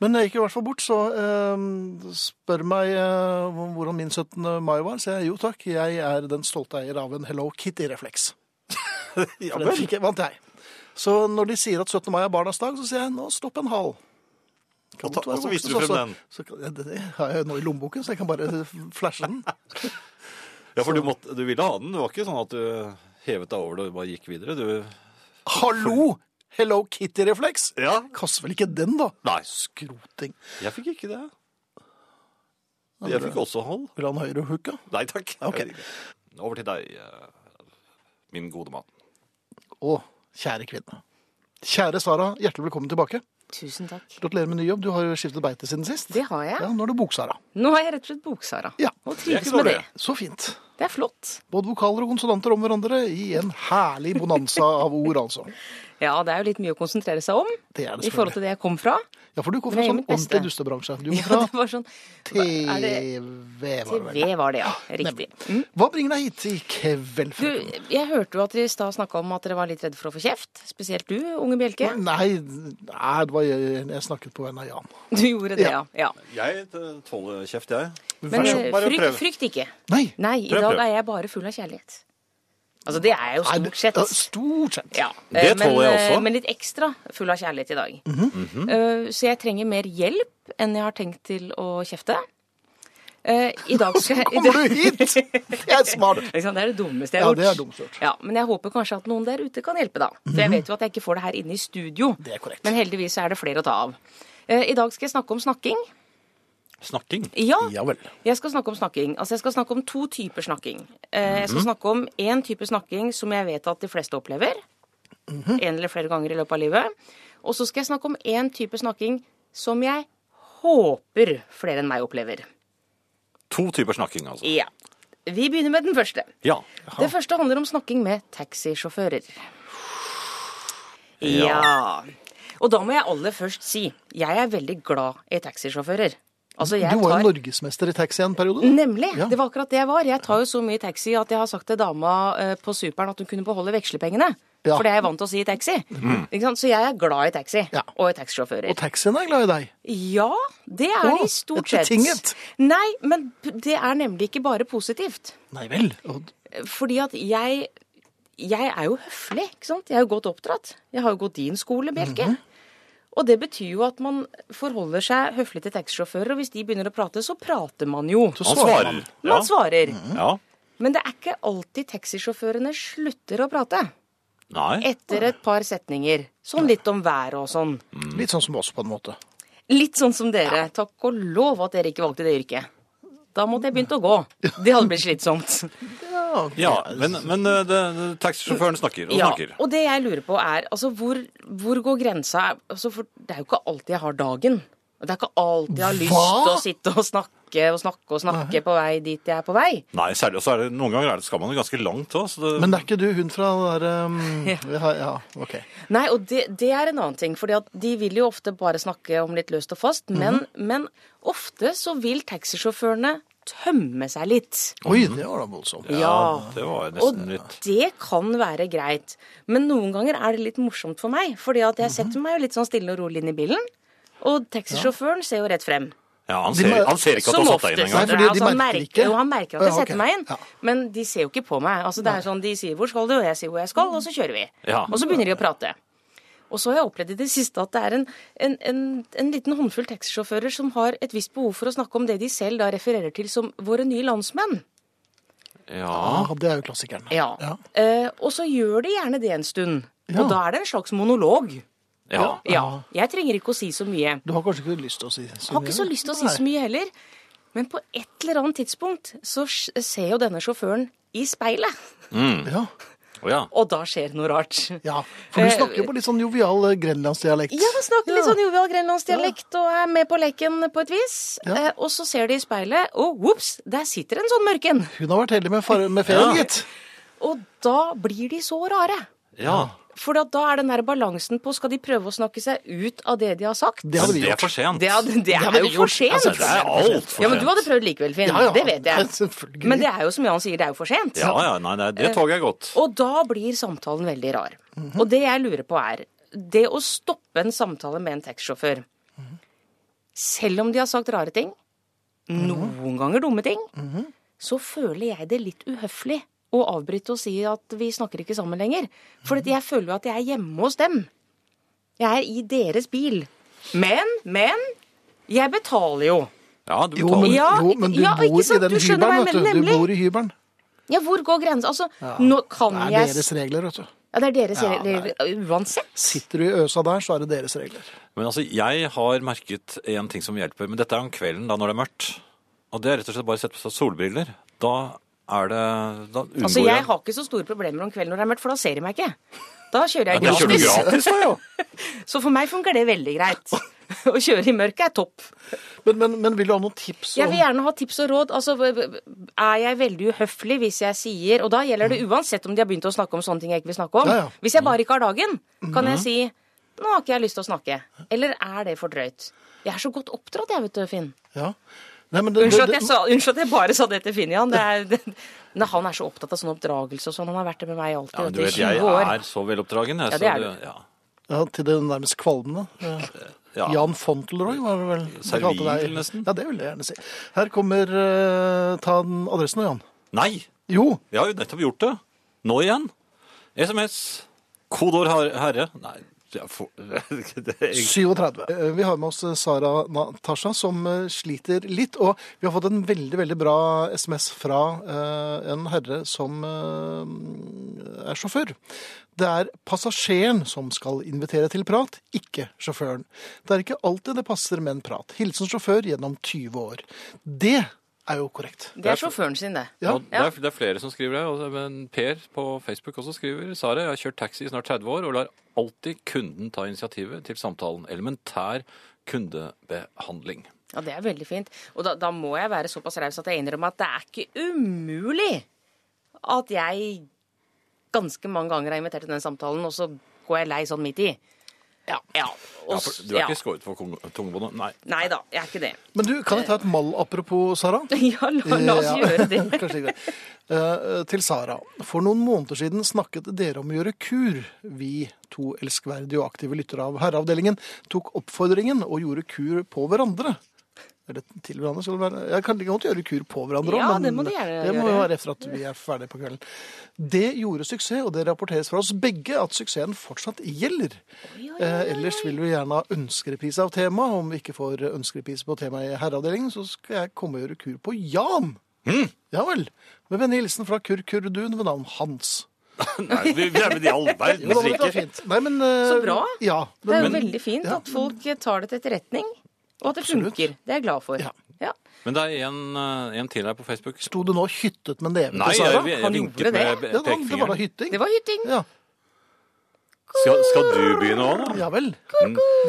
Speaker 1: Men jeg gikk i hvert fall bort, så eh, spør meg eh, hvordan min 17. mai var. Så jeg jo takk, jeg er den stolte eier av en Hello Kitty-refleks.
Speaker 2: Ja,
Speaker 1: For den
Speaker 2: vel.
Speaker 1: fikk jeg, vant jeg. Så når de sier at 17. mai er barnas dag, så sier jeg nå stopp en hal. Kan
Speaker 2: Og
Speaker 1: godt
Speaker 2: ta-
Speaker 1: være
Speaker 2: og så viser
Speaker 1: voksen,
Speaker 2: du frem
Speaker 1: Så, så, ja, det, det har jeg nå i lommeboken, så jeg kan bare (laughs) flashe
Speaker 2: (laughs)
Speaker 1: den.
Speaker 2: ja for du, måtte, du ville ha den. Det var ikke sånn at du hevet deg over det og bare gikk videre. Du
Speaker 1: Hallo! Hello Kitty-refleks!
Speaker 2: Ja.
Speaker 1: Kaster vel ikke den, da?
Speaker 2: Nei.
Speaker 1: Skroting.
Speaker 2: Jeg fikk ikke det. Jeg fikk også hold.
Speaker 1: Vil han høyre hooka?
Speaker 2: Nei takk. Jeg
Speaker 1: Ok.
Speaker 2: vil ikke. Over til deg, eh, min gode mann.
Speaker 1: Å, kjære kvinne. Kjære Sara, hjertelig velkommen tilbake.
Speaker 3: Tusen takk.
Speaker 1: Gratulerer med ny jobb. Du har jo skiftet beite siden sist.
Speaker 3: Det har jeg.
Speaker 1: Ja, Nå er du Bok-Sara.
Speaker 3: Nå er jeg rett og slett Bok-Sara.
Speaker 1: Ja.
Speaker 3: Og
Speaker 2: Det er
Speaker 3: trives
Speaker 2: ikke
Speaker 3: med
Speaker 2: dårlig.
Speaker 3: det.
Speaker 1: Så fint.
Speaker 3: Det er flott.
Speaker 1: Både vokaler og konsonanter om hverandre i en herlig bonanza av ord, altså.
Speaker 3: Ja, det er jo litt mye å konsentrere seg om
Speaker 1: Det er det
Speaker 3: i forhold
Speaker 1: selvfølgelig.
Speaker 3: til det jeg kom fra.
Speaker 1: Ja, for du kom
Speaker 3: Men
Speaker 1: fra
Speaker 3: jeg gjør
Speaker 1: sånn
Speaker 3: mitt beste.
Speaker 1: ordentlig dustebransje. Du kom
Speaker 3: Ja,
Speaker 1: fra
Speaker 3: (laughs) det var sånn
Speaker 1: TV,
Speaker 3: Er
Speaker 1: var det
Speaker 3: det-
Speaker 1: vel.
Speaker 3: TV var det, ja. Riktig. Mm.
Speaker 1: Hva bringer deg hit i kveld?
Speaker 3: Du,
Speaker 1: frøken?
Speaker 3: jeg hørte jo at dere i stad snakka om at dere var litt redde for å få kjeft. Spesielt du, unge Bjelke.
Speaker 1: Nei, nei, det var jeg, jeg snakket på vegne av Jan.
Speaker 3: Du gjorde det, ja. ja.
Speaker 2: Jeg eh, tåler kjeft, jeg.
Speaker 3: Men
Speaker 1: Vær så
Speaker 3: eh,
Speaker 2: bare prøv.
Speaker 3: frykt, frykt ikke.
Speaker 1: Nei.
Speaker 3: Nei, i
Speaker 2: Prøv,
Speaker 3: dag
Speaker 2: prøv.
Speaker 3: er jeg bare full av kjærlighet. Altså, det er jeg jo
Speaker 1: Nei, det-
Speaker 3: stort sett.
Speaker 1: ja, Stort sett.
Speaker 3: Ja,
Speaker 2: Det
Speaker 3: eh, men,
Speaker 2: tåler jeg også.
Speaker 3: eh, Men litt ekstra full av kjærlighet i dag.
Speaker 1: Mhm.
Speaker 3: Eh, Så jeg trenger mer hjelp enn jeg har tenkt til å kjefte. Eh, I dag
Speaker 1: (laughs)
Speaker 3: skal jeg
Speaker 1: Kommer du
Speaker 3: (laughs)
Speaker 1: hit? Jeg er smart.
Speaker 3: Ikke sant, Det er det dummeste jeg
Speaker 1: Ja,
Speaker 3: har gjort.
Speaker 1: det er dumt gjort. Mhm.
Speaker 3: Ja, Men jeg håper kanskje at noen der ute kan hjelpe, da. For jeg vet jo at jeg ikke får det her inne i studio.
Speaker 1: Det er korrekt.
Speaker 3: Men heldigvis så er det flere å ta av. Eh, I dag skal jeg snakke om snakking.
Speaker 2: Snakking.
Speaker 3: Ja,
Speaker 1: Ja vel.
Speaker 3: jeg skal snakke om snakking. Altså, jeg skal snakke om to typer snakking. Eh, Jeg skal snakke om én type snakking som jeg vet at de fleste opplever. En eller flere ganger i løpet av livet. Og så skal jeg snakke om én type snakking som jeg håper flere enn meg opplever.
Speaker 2: To typer snakking, altså.
Speaker 3: Ja. Vi begynner med den første.
Speaker 2: Ja.
Speaker 3: Det første handler om snakking med taxisjåfører. Ja. Og da må jeg aller først si jeg er veldig glad i taxisjåfører. Altså, jeg
Speaker 1: Du var
Speaker 3: tar-
Speaker 1: jo norgesmester i taxi en periode.
Speaker 3: Nemlig.
Speaker 1: Ja.
Speaker 3: Det var akkurat det jeg var. Jeg tar jo så mye taxi at jeg har sagt til dama eh, på Superen at hun kunne beholde vekslepengene.
Speaker 1: Ja. Mm.
Speaker 3: For det er jeg vant til å si i taxi. Ikke sant? Så jeg er glad i taxi.
Speaker 1: Ja.
Speaker 3: Og i taxisjåfører.
Speaker 1: Og taxien er glad i deg.
Speaker 3: Ja, det er
Speaker 1: Å,
Speaker 3: de stort
Speaker 1: et
Speaker 3: sett.
Speaker 1: betinget.
Speaker 3: Nei, men p- det er nemlig ikke bare positivt.
Speaker 1: Nei vel. Og
Speaker 3: Fordi at jeg Jeg er jo høflig, ikke sant? Jeg er jo godt oppdratt. Jeg har jo gått din skole, Bjelke.
Speaker 1: Mhm.
Speaker 3: Og det betyr jo at man forholder seg høflig til taxisjåfører, og hvis de begynner å prate, så prater man jo.
Speaker 1: så
Speaker 2: Han
Speaker 1: svarer Mhm.
Speaker 2: svarer.
Speaker 1: man.
Speaker 2: Ja.
Speaker 3: Man svarer.
Speaker 2: ja.
Speaker 3: Men det er ikke alltid taxisjåførene slutter å prate
Speaker 2: Nei.
Speaker 3: etter et par setninger. Sånn litt om været og sånn.
Speaker 1: Litt sånn som oss, på en måte.
Speaker 3: Litt sånn som dere. Takk og lov at dere ikke valgte det yrket. Da måtte jeg begynt å gå. (laughs) Det hadde blitt slitsomt.
Speaker 1: Ja,
Speaker 2: Ja, men, men eh, det- det- taxisjåføren snakker og
Speaker 3: Ja,
Speaker 2: snakker.
Speaker 3: og det jeg lurer på er, altså hvor, hvor går grensa? Altså, for det er jo ikke alltid jeg har dagen. Og Det er ikke alltid jeg har lyst
Speaker 1: Hva?
Speaker 3: til å sitte og snakke og snakke og snakke på vei dit jeg er på vei.
Speaker 2: Nei, særlig, og så er det, noen ganger er det, skal man jo ganske langt òg, så det,
Speaker 1: Men det er ikke du hun fra den der um,
Speaker 3: (laughs)
Speaker 1: ja. ja, OK.
Speaker 3: Nei, og det, det er en annen ting. For de vil jo ofte bare snakke om litt løst og fast. Men, men ofte så vil taxisjåførene tømme seg litt.
Speaker 1: Oi, det var da voldsomt.
Speaker 3: Ja.
Speaker 2: det var jo
Speaker 3: Og
Speaker 2: nesten litt
Speaker 3: det kan være greit. Men noen ganger er det litt morsomt for meg. fordi at jeg setter meg jo litt sånn stille og rolig inn i bilen. Og taxisjåføren ser jo rett frem.
Speaker 2: Ja, han ser, han ser ikke at du
Speaker 3: Som
Speaker 2: har satt deg inn
Speaker 3: oftest.
Speaker 1: Nei,
Speaker 2: engang.
Speaker 1: fordi
Speaker 3: Ja,
Speaker 1: de
Speaker 3: altså, han
Speaker 1: merker ikke.
Speaker 3: Jo, han merker at jeg
Speaker 1: Ja, ok.
Speaker 3: setter meg inn,
Speaker 1: Ja.
Speaker 3: men de ser jo ikke på meg. Altså, det er sånn, De sier 'hvor skal du?' og jeg sier 'hvor jeg skal', og så kjører vi.
Speaker 2: Ja.
Speaker 3: Og så begynner de å prate. Og så har jeg opplevd i det siste at det er en, en, en, en liten håndfull taxisjåfører som har et visst behov for å snakke om det de selv da refererer til som 'våre nye landsmenn'.
Speaker 2: Ja.
Speaker 1: Ja, det er jo klassikeren.
Speaker 3: Ja. Eh, og så gjør de gjerne det en stund.
Speaker 1: Ja.
Speaker 3: Og da er det en slags monolog.
Speaker 2: ja.
Speaker 3: Ja. Jeg trenger ikke å si så mye.
Speaker 1: Du har kanskje ikke lyst til å si så
Speaker 3: Jeg har ikke så lyst til å si så mye heller. Men på et eller annet tidspunkt så s- ser jo denne sjåføren i speilet.
Speaker 1: Ja.
Speaker 2: Å, ja.
Speaker 3: Og da skjer noe rart.
Speaker 1: ja. For du
Speaker 3: Eh,
Speaker 1: snakker jo på litt sånn jovial eh, grenlandsdialekt.
Speaker 3: Ja, han snakker litt sånn jovial grenlandsdialekt og er med på leken på et vis.
Speaker 1: Ja.
Speaker 3: Eh, og så ser de i speilet, og vops, der sitter en sånn mørken.
Speaker 1: Hun har vært heldig med, far- med ferien,
Speaker 2: Ja.
Speaker 1: gitt.
Speaker 3: Og da blir de så rare.
Speaker 2: ja.
Speaker 3: For da- da er den der balansen på skal de prøve å snakke seg ut av det de har sagt.
Speaker 1: Det
Speaker 2: Men
Speaker 1: hadde vi
Speaker 2: det er
Speaker 1: gjort.
Speaker 2: for sent.
Speaker 3: Det, hadde, det er
Speaker 1: hadde
Speaker 3: jo
Speaker 1: vi
Speaker 3: for
Speaker 1: gjort.
Speaker 3: sent.
Speaker 1: Altså,
Speaker 2: det er alt for
Speaker 3: Ja, men
Speaker 2: sent.
Speaker 3: du hadde prøvd likevel, Finn.
Speaker 1: Ja, ja.
Speaker 3: Det vet
Speaker 1: Ja, (laughs)
Speaker 3: jeg.
Speaker 1: selvfølgelig.
Speaker 3: Men det er jo som Jan sier, det er jo for sent.
Speaker 2: Ja, ja, nei, nei,
Speaker 3: Eh.
Speaker 2: det toget er gått.
Speaker 3: Og da blir samtalen veldig rar. Og det jeg lurer på er, det å stoppe en samtale med en taxisjåfør, selv om de har sagt rare ting, noen ganger dumme ting, så føler jeg det litt uhøflig å avbryte og si at vi snakker ikke sammen lenger. For at jeg føler jo at jeg er hjemme hos dem. Jeg er i deres bil. Men, men, jeg betaler jo.
Speaker 2: Ja, du
Speaker 1: Jo, men,
Speaker 2: betaler.
Speaker 3: Ja,
Speaker 1: jo, men du
Speaker 3: ja, ikke
Speaker 1: bor i
Speaker 3: sant?
Speaker 1: den
Speaker 3: Du skjønner
Speaker 1: hybelen,
Speaker 3: hva jeg
Speaker 1: vet
Speaker 3: mener,
Speaker 1: du. Du
Speaker 3: nemlig.
Speaker 1: bor i hybelen.
Speaker 3: Ja, hvor går grensen? Altså, nå kan
Speaker 1: Det
Speaker 3: jeg
Speaker 1: er deres regler, vet du.
Speaker 3: Ja, det er deres
Speaker 1: Ja,
Speaker 3: regler uansett.
Speaker 1: Sitter du i øsa der, så er det deres regler.
Speaker 2: Men altså, jeg har merket en ting som hjelper, men dette er om kvelden da når det er mørkt. Og det er rett og slett bare å sette på seg solbriller. Da er det Da unngår
Speaker 3: Altså, jeg har ikke så store problemer om kvelden når det er mørkt, for da ser de meg ikke. Da kjører
Speaker 2: ja,
Speaker 3: jeg
Speaker 2: det kjører du
Speaker 3: gratis.
Speaker 2: gratis, da, jo.
Speaker 3: (laughs) Så for meg funker det veldig greit. Å kjøre i mørket er topp.
Speaker 1: Men, men, men vil du ha noen tips?
Speaker 3: Jeg
Speaker 1: Om,
Speaker 3: vil gjerne ha tips og råd. Altså, er jeg veldig uhøflig hvis jeg sier Og da gjelder det uansett om de har begynt å snakke om sånne ting jeg ikke vil snakke om.
Speaker 1: Ja, ja.
Speaker 3: Hvis jeg bare ikke har dagen, kan
Speaker 2: Mhm.
Speaker 3: jeg si 'Nå har ikke jeg lyst til å snakke'. Eller er det for drøyt? Jeg er så godt oppdratt, jeg, vet du, Finn.
Speaker 1: ja. Nei, men det,
Speaker 3: Unnskyld at
Speaker 1: det-
Speaker 3: jeg, sa, unnskyld at jeg bare sa det til Finn, Jan. Det er, det, men han er så opptatt av sånn oppdragelse og sånn. Han har vært det med meg alltid.
Speaker 2: Ja, men du
Speaker 3: vet
Speaker 2: vet,
Speaker 3: i 20
Speaker 2: jeg er
Speaker 3: år.
Speaker 2: så veloppdragen. Jeg, så
Speaker 3: Ja, det er du.
Speaker 2: Ja.
Speaker 1: ja, til det nærmest kvalmende. Ja.
Speaker 2: Ja.
Speaker 1: Jan Fontelroy var det vel?
Speaker 2: Servil,
Speaker 1: kalte deg.
Speaker 2: nesten.
Speaker 1: Ja, det vil jeg gjerne si. Her kommer eh, Ta den adressen nå, Jan.
Speaker 2: Nei!
Speaker 1: Jo,
Speaker 2: Jeg har jo nettopp gjort det. Nå igjen. SMS. Kodord her- herre. Nei, jeg får (laughs) det er
Speaker 1: 37.
Speaker 2: egentlig-
Speaker 1: Eh, Vi har med oss eh, Sara Natasha, som eh, sliter litt. Og vi har fått en veldig veldig bra SMS fra eh, en herre som eh, er sjåfør. Det er passasjeren som skal invitere til prat, ikke sjåføren. Det er ikke alltid det passer med en prat. Hilsen sjåfør gjennom 20 år. Det er jo korrekt.
Speaker 3: Det er sjåføren sin, det.
Speaker 1: Ja.
Speaker 2: Og Det, er, det er flere som skriver det. og det- Men Per på Facebook også skriver Sara, jeg har kjørt taxi i snart 30 år og lar alltid kunden ta initiativet til samtalen. Elementær kundebehandling.
Speaker 3: Ja, Det er veldig fint. Og da, da må jeg være såpass raus at jeg innrømmer at det er ikke umulig at jeg ganske mange ganger har invitert til den samtalen, og så går jeg lei sånn midt i. Ja. ja. Og
Speaker 2: Ja, for,
Speaker 3: s-
Speaker 2: du er
Speaker 3: ja.
Speaker 2: ikke skåret for kong- tungebåndet? Nei.
Speaker 3: Nei da, jeg er ikke det. (laughs)
Speaker 1: Men du, kan jeg ta et mall apropos, Sara?
Speaker 3: Ja, la, (laughs) la oss
Speaker 1: Ja.
Speaker 3: gjøre det.
Speaker 1: (laughs) Kanskje ikke. Eh, til Sara. For noen måneder siden snakket dere om å gjøre kur. Vi to elskverdige og aktive lyttere av Herreavdelingen tok oppfordringen og gjorde kur på hverandre. Eller til hverandre, skal det være. Jeg kan like godt gjøre kur på hverandre også,
Speaker 3: Ja,
Speaker 1: men
Speaker 3: det må de gjerne
Speaker 1: det må
Speaker 3: gjøre.
Speaker 1: jo være etter at vi er ferdige på kvelden. Det gjorde suksess, og det rapporteres fra oss begge at suksessen fortsatt gjelder. Eh, ellers vil vi gjerne ha ønskereprise av temaet. Om vi ikke får ønskereprise på temaet i herreavdelingen, så skal jeg komme og gjøre kur på Jan. Ja vel. Med vennlig hilsen fra Kurkurdun ved navn Hans.
Speaker 2: (laughs) Nei, vi, vi er med de (laughs)
Speaker 1: Jo,
Speaker 2: all
Speaker 1: da, men
Speaker 2: verdens
Speaker 1: det var
Speaker 2: rike.
Speaker 1: fint. Nei, men, eh,
Speaker 3: Så bra.
Speaker 1: Ja,
Speaker 3: Det er jo
Speaker 1: men,
Speaker 3: veldig fint
Speaker 1: ja.
Speaker 3: at folk tar det til etterretning, og at det
Speaker 1: Absolutt.
Speaker 3: funker. Det er jeg glad for.
Speaker 1: Ja.
Speaker 3: Ja.
Speaker 2: Men det er en, eh, en til her på Facebook.
Speaker 1: Sto du nå og hyttet med neven
Speaker 2: Nei,
Speaker 1: til Sara?
Speaker 2: jeg, jeg,
Speaker 3: han
Speaker 2: vinket
Speaker 3: gjorde
Speaker 2: med
Speaker 3: det.
Speaker 2: be-
Speaker 1: Ja, da, det var da
Speaker 2: pekefingeren.
Speaker 1: hytting.
Speaker 3: Det var hytting.
Speaker 1: Ja,
Speaker 2: Skal, skal du begynne òg, da?
Speaker 1: ja vel.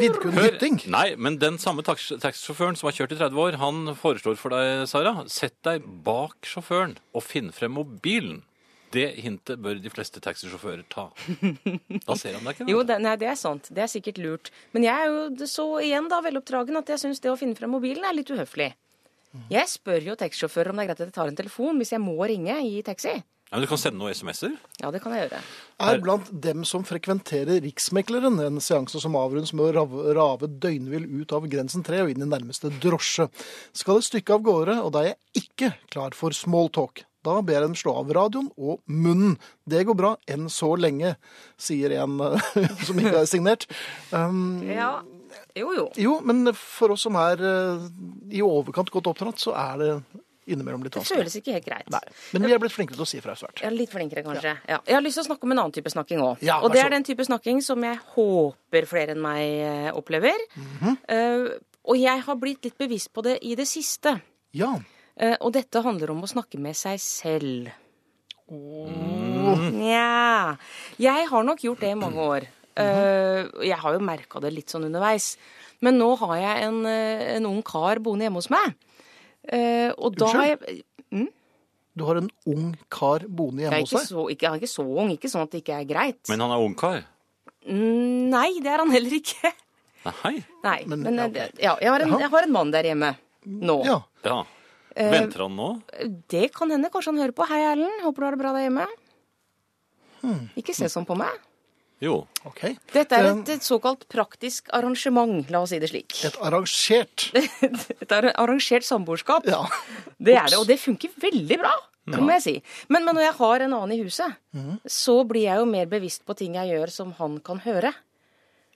Speaker 1: Vidkun
Speaker 2: Hør,
Speaker 1: hytting.
Speaker 2: Nei, men den samme tax- taxisjåføren som har kjørt i 30 år, han foreslår for deg, Sara, sett deg bak sjåføren og finn frem mobilen. Det hintet bør de fleste taxisjåfører ta. Da ser han deg ikke. da.
Speaker 3: (laughs) Jo, det, nei, det er sant. Det er sikkert lurt. Men jeg er jo det- så igjen da veloppdragen at jeg syns det å finne frem mobilen er litt uhøflig. Jeg spør jo taxisjåfører om det er greit at jeg tar en telefon hvis jeg må ringe i taxi.
Speaker 2: Ja, men du kan sende noen SMS-er.
Speaker 3: Ja, det kan jeg gjøre.
Speaker 1: er blant dem som frekventerer Riksmekleren, en seanse som avrundes med å rave, rave døgnvill ut av grensen 3 og inn i nærmeste drosje. Skal et stykke av gårde, og da er jeg ikke klar for smalltalk. Da ber jeg dem slå av radioen og munnen. Det går bra enn så lenge, sier en eh, som ikke er signert. Um,
Speaker 3: Ja. Jo, jo.
Speaker 1: jo, men for oss som er eh, i overkant godt oppdratt, så er det innimellom litt
Speaker 3: Det
Speaker 1: vanskelig.
Speaker 3: føles ikke helt greit.
Speaker 1: Nei, men vi er blitt flinkere til å si fra svært.
Speaker 3: Ja, litt flinkere, kanskje. Ja. Jeg har lyst til å snakke om en annen type snakking òg.
Speaker 1: Ja,
Speaker 3: og
Speaker 1: vær
Speaker 3: det
Speaker 1: så
Speaker 3: er den type snakking som jeg håper flere enn meg eh, opplever.
Speaker 1: Mhm.
Speaker 3: Eh, og jeg har blitt litt bevisst på det i det siste.
Speaker 1: Ja,
Speaker 3: Eh, og dette handler om å snakke med seg selv.
Speaker 1: Mm.
Speaker 3: Nja Jeg har nok gjort det i mange år. Eh, jeg har jo merka det litt sånn underveis. Men nå har jeg en, eh, en ung kar boende hjemme hos meg. Eh, og da har jeg
Speaker 1: du har en ung kar boende
Speaker 3: jeg er
Speaker 1: hjemme
Speaker 3: ikke
Speaker 1: hos deg.
Speaker 3: så, ikke, han er ikke så ung, ikke sånn at det ikke er greit.
Speaker 2: Men han er ungkar.
Speaker 3: Mm, Nei, det er han heller ikke. (laughs)
Speaker 2: Nei.
Speaker 3: Nei,
Speaker 1: Men-
Speaker 3: men,
Speaker 1: ja,
Speaker 3: eh,
Speaker 1: ok.
Speaker 3: det- ja, jeg, har en,
Speaker 1: Jaha.
Speaker 3: jeg har en mann der hjemme nå.
Speaker 1: Ja.
Speaker 2: Ja.
Speaker 3: Eh,
Speaker 2: Venter han nå?
Speaker 3: Det kan hende. Kanskje han hører på. Hei, Erlend. Håper du har det bra der hjemme.
Speaker 1: Hmm.
Speaker 3: Ikke se sånn på meg.
Speaker 2: Jo.
Speaker 1: OK.
Speaker 3: Dette er
Speaker 1: Eh,
Speaker 3: et, eh, et såkalt praktisk arrangement, la oss si det slik. (laughs)
Speaker 1: Et arrangert
Speaker 3: Et arra- arrangert samboerskap.
Speaker 1: Ja.
Speaker 3: Det er det, og det funker veldig bra, det må jeg si. Men, men når jeg har en annen i huset,
Speaker 1: Mhm.
Speaker 3: så blir jeg jo mer bevisst på ting jeg gjør som han kan høre.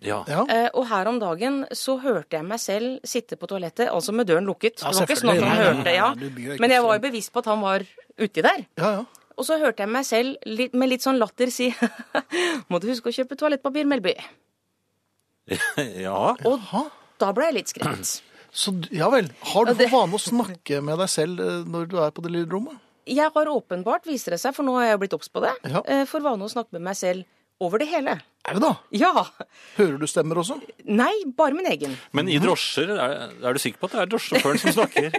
Speaker 2: Ja.
Speaker 1: ja.
Speaker 3: Eh, og her om dagen så hørte jeg meg selv sitte på toalettet, altså med døren lukket.
Speaker 1: Ja,
Speaker 3: det var ikke sånn
Speaker 1: selvfølgelig.
Speaker 3: at han
Speaker 1: Nei, nei,
Speaker 3: hørte,
Speaker 1: nei,
Speaker 3: ja.
Speaker 1: du blir jo ikke sånn.
Speaker 3: Men jeg var
Speaker 1: slem.
Speaker 3: jo bevisst på at han var uti der.
Speaker 1: Ja, ja.
Speaker 3: Og så hørte jeg meg selv litt, med litt sånn latter si (laughs) Må du huske å kjøpe toalettpapir, Melby?
Speaker 2: (laughs) ja.
Speaker 3: Og da ble jeg litt skremt.
Speaker 1: Så du- ja vel. Har du
Speaker 3: Ja, det-
Speaker 1: for vane å snakke med deg selv eh, når du er på det lille rommet?
Speaker 3: Jeg har åpenbart, viser det seg, for nå har jeg jo blitt obs på det,
Speaker 1: Ja.
Speaker 3: eh, for vane å snakke med meg selv over det hele.
Speaker 1: Er det da?
Speaker 3: Ja.
Speaker 1: Hører du stemmer også?
Speaker 3: Nei, bare min egen. (laughs)
Speaker 2: Men i drosjer, er, er du sikker på at det er drosjesjåføren som snakker?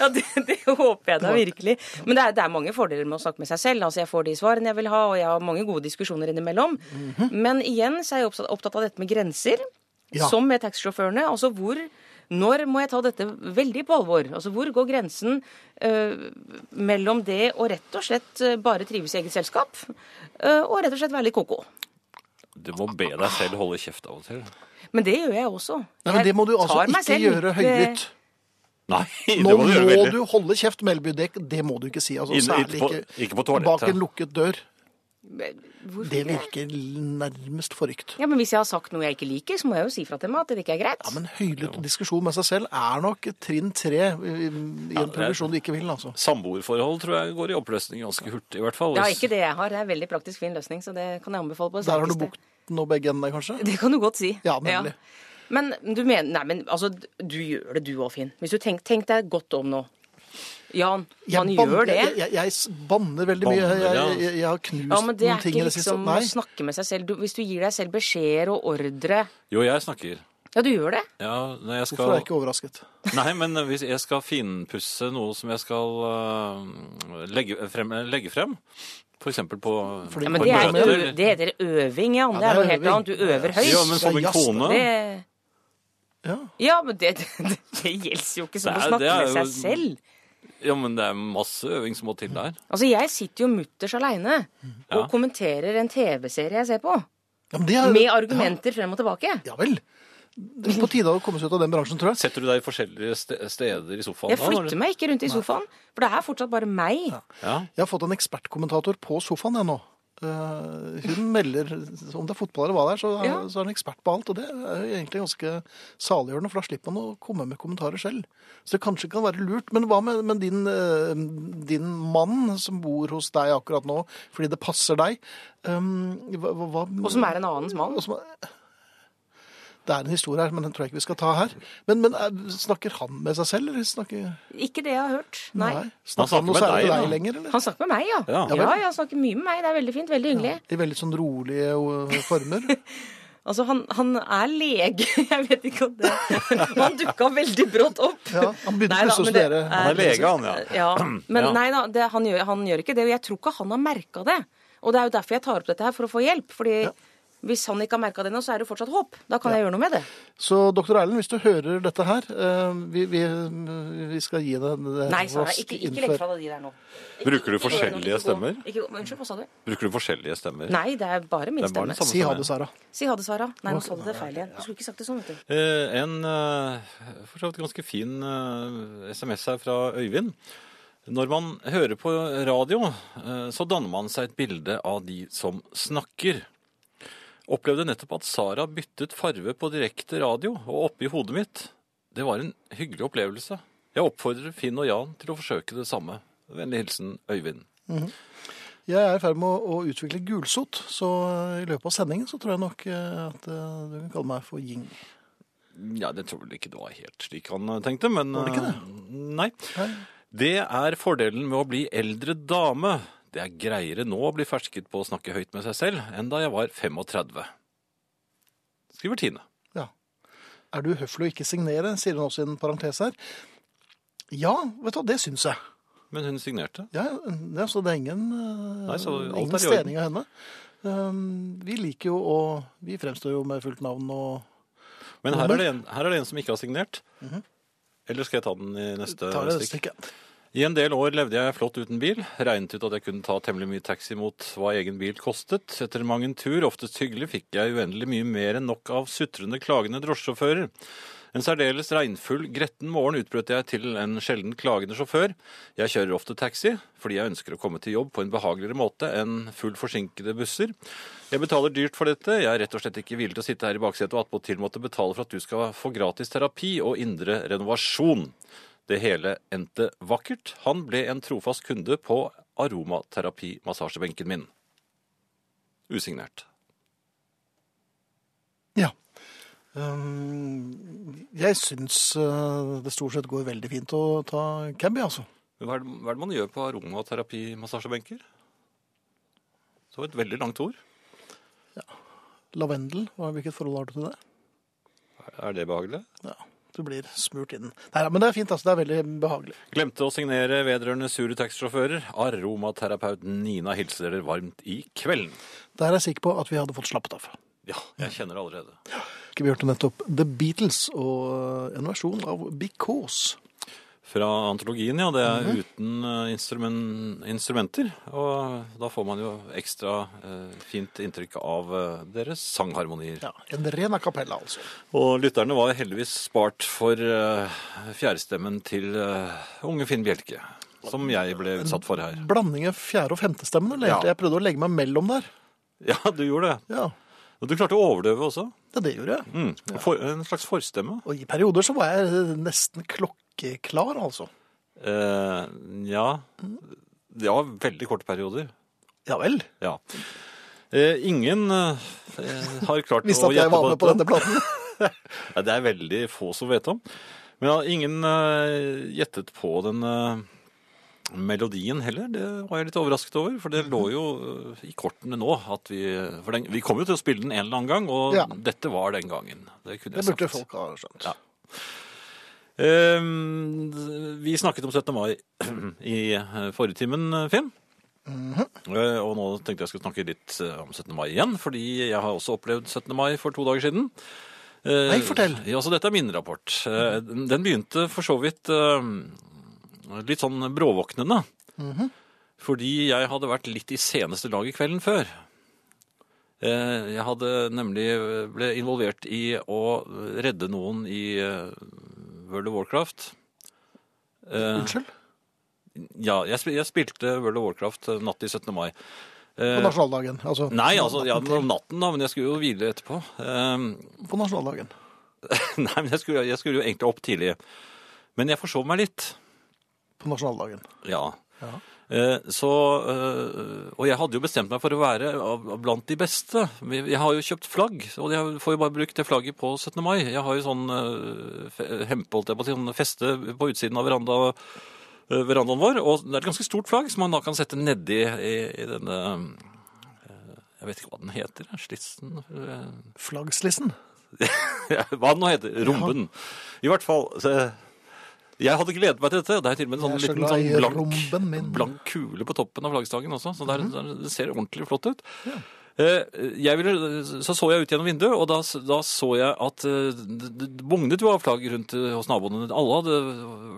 Speaker 3: Ja, det, det håper jeg da virkelig. Men det er, det er mange fordeler med å snakke med seg selv. Altså, Jeg får de svarene jeg vil ha, og jeg har mange gode diskusjoner innimellom. Men igjen så er jeg opptatt, opptatt av dette med grenser,
Speaker 1: Mhm. Ja.
Speaker 3: som med taxisjåførene. Altså hvor når må jeg ta dette veldig på alvor? Altså Hvor går grensen eh, mellom det å rett og slett eh, bare trives i eget selskap, eh, og rett og slett være litt koko?
Speaker 2: Du må be deg selv holde kjeft av og til.
Speaker 3: Men det gjør jeg også.
Speaker 1: Nei, men
Speaker 3: Jeg
Speaker 1: Det må du altså
Speaker 3: tar meg
Speaker 1: ikke
Speaker 3: selv. Eh,
Speaker 1: gjøre høylytt.
Speaker 3: Det-
Speaker 2: Nei, (laughs) det
Speaker 1: Nå
Speaker 2: må du gjøre
Speaker 1: må
Speaker 2: veldig.
Speaker 1: du holde kjeft, Melby. Det, det må du ikke si. Altså,
Speaker 2: Inne-
Speaker 1: særlig
Speaker 2: ikke på-
Speaker 1: ikke,
Speaker 2: ikke på toalettet.
Speaker 1: bak en lukket dør.
Speaker 3: Hvorfor
Speaker 1: Det
Speaker 3: det?
Speaker 1: virker nærmest forrykt.
Speaker 3: Ja, Men hvis jeg har sagt noe jeg ikke liker, så må jeg jo si fra til meg at det ikke er greit.
Speaker 1: Ja, men høylytt diskusjon med seg selv er nok trinn tre i i en progresjon du ikke vil, altså.
Speaker 2: Samboerforhold tror jeg går i oppløsning ganske hurtig, i hvert fall.
Speaker 3: Ja,
Speaker 2: hvis-
Speaker 3: ikke det jeg har. Det er en veldig praktisk fin løsning, så det kan jeg anbefale på det
Speaker 1: Der har du
Speaker 3: sterkeste.
Speaker 1: bukten og begge endene, kanskje?
Speaker 3: Det kan du godt si.
Speaker 1: Ja, nemlig.
Speaker 3: Men du mener Nei, men altså, du gjør det du òg, Finn. Hvis du tenk, tenk deg godt om nå. Jan, han
Speaker 1: banner-
Speaker 3: gjør det.
Speaker 1: Jeg, jeg, jeg s- banner veldig mye.
Speaker 2: Banner,
Speaker 1: Jeg,
Speaker 2: ja.
Speaker 1: jeg, jeg har knust
Speaker 3: Ja, men det
Speaker 1: noen
Speaker 3: er
Speaker 1: ting
Speaker 3: ikke
Speaker 1: i det siste.
Speaker 3: liksom å
Speaker 1: Nei.
Speaker 3: snakke med seg selv. Du, hvis du gir deg selv beskjeder og ordre
Speaker 2: Jo, jeg snakker.
Speaker 3: Ja, du gjør det.
Speaker 2: Ja, når
Speaker 1: Hvorfor
Speaker 2: jeg
Speaker 1: er
Speaker 2: skal...
Speaker 1: jeg ikke overrasket?
Speaker 2: Nei, men hvis jeg skal finpusse noe som jeg skal øh, legge frem, legge frem for eksempel på,
Speaker 1: Fordi-
Speaker 3: Ja,
Speaker 2: på
Speaker 3: men
Speaker 2: et
Speaker 3: det, er,
Speaker 1: Hvordan
Speaker 2: møte,
Speaker 1: møter-
Speaker 3: ø- det heter øving, Jan.
Speaker 1: Ja,
Speaker 3: det
Speaker 1: det er
Speaker 3: er noe helt
Speaker 1: øving.
Speaker 3: annet. Du øver høyt.
Speaker 2: Ja, men
Speaker 1: Det er
Speaker 2: som en
Speaker 1: jazz,
Speaker 2: kone
Speaker 3: Det,
Speaker 2: det,
Speaker 1: Ja.
Speaker 3: ja, men det, det, det gjelder jo ikke som
Speaker 2: Det
Speaker 3: å
Speaker 2: er-
Speaker 3: snakke
Speaker 2: det er
Speaker 3: med seg
Speaker 2: jo-
Speaker 3: selv.
Speaker 2: Ja, men det er masse øving som må til der.
Speaker 3: Altså, jeg sitter jo mutters aleine
Speaker 2: Ja.
Speaker 3: og kommenterer en TV-serie jeg ser på.
Speaker 1: Ja, men det er,
Speaker 3: Med argumenter frem og tilbake.
Speaker 1: Ja, ja vel. Det er på tide å komme seg ut av den bransjen, tror jeg.
Speaker 2: Setter du deg i forskjellige ste- steder i sofaen?
Speaker 3: Jeg flytter meg ikke rundt i sofaen, for det er fortsatt bare meg.
Speaker 2: Ja.
Speaker 1: Jeg har fått en ekspertkommentator på sofaen, jeg nå. Eh, hun melder om det er fotball eller hva det er, så, er-
Speaker 3: Ja.
Speaker 1: så er hun ekspert på alt. Og det er jo egentlig ganske saliggjørende, for da slipper man å komme med kommentarer selv. Så det kanskje kan være lurt. Men hva med, med din, eh, din mann som bor hos deg akkurat nå fordi det passer deg? Um, hva, hva, hva-
Speaker 3: Og som er en annens mann.
Speaker 1: og som er- det er en historie her, men den tror jeg ikke vi skal ta her. Men, men eh, snakker han med seg selv, eller snakker
Speaker 3: Ikke det jeg har hørt. Nei.
Speaker 1: Snakker han
Speaker 2: snakker
Speaker 1: noe
Speaker 2: med
Speaker 1: særlig
Speaker 2: deg,
Speaker 1: med deg
Speaker 2: da.
Speaker 1: lenger, eller?
Speaker 3: Han snakker med meg, ja.
Speaker 2: Ja.
Speaker 3: Ja, ja, han snakker mye med meg. Det er veldig fint. Veldig hyggelig.
Speaker 1: I veldig sånn rolige ø, former.
Speaker 3: Altså, han, han er lege. (laughs) Jeg vet ikke om det Og han dukka veldig brått opp.
Speaker 1: (laughs) Ja, han begynte
Speaker 3: Nei da,
Speaker 1: plutselig å
Speaker 3: men det
Speaker 1: studere.
Speaker 3: er-
Speaker 2: Han er lege, han, Sånn, ja. (clears throat)
Speaker 3: Ja, men
Speaker 2: Ja.
Speaker 3: nei da, det, han, gjør, han gjør ikke det. Og jeg tror ikke han har merka det. Og det er jo derfor jeg tar opp dette her, for å få hjelp. Fordi hvis han ikke har merka det ennå, så er det fortsatt håp. Da kan jeg gjøre noe med det.
Speaker 1: Så doktor Erlend, hvis du hører dette her ø, Vi, vi, vi skal gi deg det
Speaker 3: Nei, Sara,
Speaker 1: rask
Speaker 3: ikke, ikke
Speaker 1: innfør.
Speaker 3: legg fra deg de der nå.
Speaker 2: Bruker du
Speaker 3: Ikke- ikke gå gjennom,
Speaker 2: forskjellige
Speaker 3: ikke gå.
Speaker 2: stemmer?
Speaker 3: Ikke, gå- unnskyld, hva sa du?
Speaker 2: Bruker du forskjellige stemmer?
Speaker 3: Nei, det er bare min
Speaker 2: Det er bare
Speaker 3: stemme.
Speaker 2: den samme
Speaker 1: Si ha
Speaker 2: som
Speaker 1: det,
Speaker 2: jeg.
Speaker 1: Sara.
Speaker 3: Si ha det, Sara. Nei, nå sa du det feil igjen. Du skulle ikke sagt det sånn, vet du.
Speaker 2: Eh, En eh, for så vidt ganske fin eh, SMS her fra Øyvind. Når man hører på radio, eh, så danner man seg et bilde av de som snakker. Opplevde nettopp at Sara byttet farve på direkte radio og oppe i hodet mitt. Det var en hyggelig opplevelse. Jeg oppfordrer Finn og Jan til å forsøke det samme. Vennlig hilsen Øyvind.
Speaker 1: Jeg er i ferd med å, å utvikle gulsot, så ø, i løpet av sendingen så tror jeg nok ø, at ø, du kan kalle meg for Ying.
Speaker 2: Ja, det tror jeg ikke det var helt slik han eh, tenkte, men
Speaker 1: Var det ikke det?
Speaker 2: eh, Nei.
Speaker 1: Nei.
Speaker 2: Det er fordelen med å bli eldre dame. Det er greiere nå å bli fersket på å snakke høyt med seg selv enn da jeg var 35. Skriver Tine.
Speaker 1: Ja. Er du uhøflig å ikke signere, sier hun også i en parentes her. Ja, vet du hva, det syns jeg.
Speaker 2: Men hun signerte.
Speaker 1: Ja, ja, så det er ingen, eh,
Speaker 2: Nei, så alt
Speaker 1: ingen
Speaker 2: er i orden.
Speaker 1: stening av henne. Ehm, Vi liker jo å Vi fremstår jo med fullt navn og
Speaker 2: Men her er, det en, her er det en som ikke har signert. Eller skal jeg Mhm. ta den i neste
Speaker 1: tar det
Speaker 2: stikk?
Speaker 1: stikket.
Speaker 2: I en del år levde jeg flott uten bil. Regnet ut at jeg kunne ta temmelig mye taxi mot hva egen bil kostet. Etter mang en tur, oftest hyggelig, fikk jeg uendelig mye mer enn nok av sutrende, klagende drosjesjåfører. En særdeles regnfull, gretten morgen utbrøt jeg til en sjelden klagende sjåfør. Jeg kjører ofte taxi, fordi jeg ønsker å komme til jobb på en behageligere måte enn full forsinkede busser. Jeg betaler dyrt for dette, jeg er rett og slett ikke villig til å sitte her i baksetet og attpåtil måtte betale for at du skal få gratis terapi og indre renovasjon. Det hele endte vakkert. Han ble en trofast kunde på aromaterapi-massasjebenken min. Usignert.
Speaker 1: Ja. Ehm, Jeg syns eh, det stort sett går veldig fint å ta cab, ja, altså.
Speaker 2: Hva er, det, hva er det man gjør på aromaterapi-massasjebenker? Det var et veldig langt ord.
Speaker 1: Lavendel, hva- hvilket forhold har du til det?
Speaker 2: Er det behagelig?
Speaker 1: Ja, du blir smurt inn. Nei, ja, men det er fint, altså. Det er veldig behagelig.
Speaker 2: Glemte å signere vedrørende sure taxisjåfører. Aromaterapeut Nina hilser dere varmt i kvelden.
Speaker 1: Der er jeg sikker på at vi hadde fått slappet av.
Speaker 2: Ja, jeg kjenner det allerede.
Speaker 1: Ikke Vi hørte nettopp The Beatles og eh, en versjon av Because.
Speaker 2: Fra antologien, ja. Det er
Speaker 1: Mhm.
Speaker 2: uten eh, instrumen, instrumenter. Og da får man jo ekstra eh, fint inntrykk av eh, deres sangharmonier.
Speaker 1: Ja, En ren a cappella, altså.
Speaker 2: Og lytterne var heldigvis spart for eh, fjærstemmen til eh, unge Finn Bjelke. Som jeg ble utsatt for her.
Speaker 1: (laughs) Blanding av fjerde- og femtestemmen. Eller?
Speaker 2: Ja.
Speaker 1: egentlig. Jeg prøvde å legge meg mellom der.
Speaker 2: Ja, du gjorde det.
Speaker 1: Ja,
Speaker 2: Og du klarte å overdøve også.
Speaker 1: det, det gjorde jeg.
Speaker 2: Mm. For, en slags forstemme.
Speaker 1: Og i perioder så var jeg nesten klokkeklar, altså.
Speaker 2: Eh, ja. Det var veldig korte perioder.
Speaker 1: Ja vel.
Speaker 2: Ja. Eh, ingen eh, har klart å
Speaker 1: Visste at jeg
Speaker 2: gjette
Speaker 1: var
Speaker 2: på
Speaker 1: med på
Speaker 2: dette.
Speaker 1: denne platen.
Speaker 2: (laughs) Ja, det er veldig få som vet om. Men ja, ingen eh, gjettet på den eh, melodien heller. Det var jeg litt overrasket over, for det lå jo eh, i kortene nå. At vi, for den, vi kom jo til å spille den en eller annen gang, og
Speaker 1: Ja.
Speaker 2: dette var den gangen. Det kunne
Speaker 1: Det
Speaker 2: jeg
Speaker 1: burde
Speaker 2: sagt.
Speaker 1: folk ha skjønt.
Speaker 2: Ja. Eh, vi snakket om 17. mai (clears throat) i eh, forrige timen, eh, Finn.
Speaker 1: Mhm.
Speaker 2: Eh, og nå tenkte jeg skulle snakke litt eh, om 17. mai igjen, fordi jeg har også opplevd 17. mai for to dager siden. Eh,
Speaker 1: Nei, fortell.
Speaker 2: Ja, så dette er min rapport. Eh, den- den begynte for så vidt eh, litt sånn bråvåknende.
Speaker 1: Mhm.
Speaker 2: Fordi jeg hadde vært litt i seneste laget kvelden før. Eh, Jeg hadde nemlig eh, ble involvert i å redde noen i eh, World of Warcraft. Eh,
Speaker 1: Unnskyld?
Speaker 2: ja, jeg, spil jeg spilte World of Warcraft eh, natt til 17. mai.
Speaker 1: På
Speaker 2: Eh,
Speaker 1: nasjonaldagen. Altså,
Speaker 2: nei, altså, ja, men om natten da, men jeg skulle jo hvile etterpå. Eh, (laughs)
Speaker 1: På nasjonaldagen.
Speaker 2: nei, men jeg skulle, jeg skulle jo egentlig opp tidlig. Men jeg forsov meg litt.
Speaker 1: På nasjonaldagen.
Speaker 2: Ja.
Speaker 1: Ja.
Speaker 2: Eh, så, eh, og jeg hadde jo bestemt meg for å være av- av blant de beste. Vi- Jeg har jo kjøpt flagg, og jeg får jo bare brukt det flagget på 17. mai. Jeg har jo sånn eh, fe- hempe, holdt jeg på å si, sånn feste på utsiden av veranda, eh, verandaen vår, og det er et ganske stort flagg som man da kan sette nedi i, i denne eh, jeg vet ikke hva den heter. Slitsen? eh,
Speaker 1: Flaggslissen.
Speaker 2: (laughs) Hva den nå heter. Romben. I hvert fall. så- eh, Jeg hadde gledet meg til dette. Det er til og med en sånn
Speaker 1: Jeg er så
Speaker 2: liten
Speaker 1: glad i
Speaker 2: sånn blank
Speaker 1: romben min. Mhm.
Speaker 2: blank kule på toppen av flaggstangen også, så det, er, det ser ordentlig flott ut. Eh, Jeg ville, så så jeg ut gjennom vinduet, og da, da så jeg at eh, det det bugnet jo av flagg rundt eh, hos naboene. Alle hadde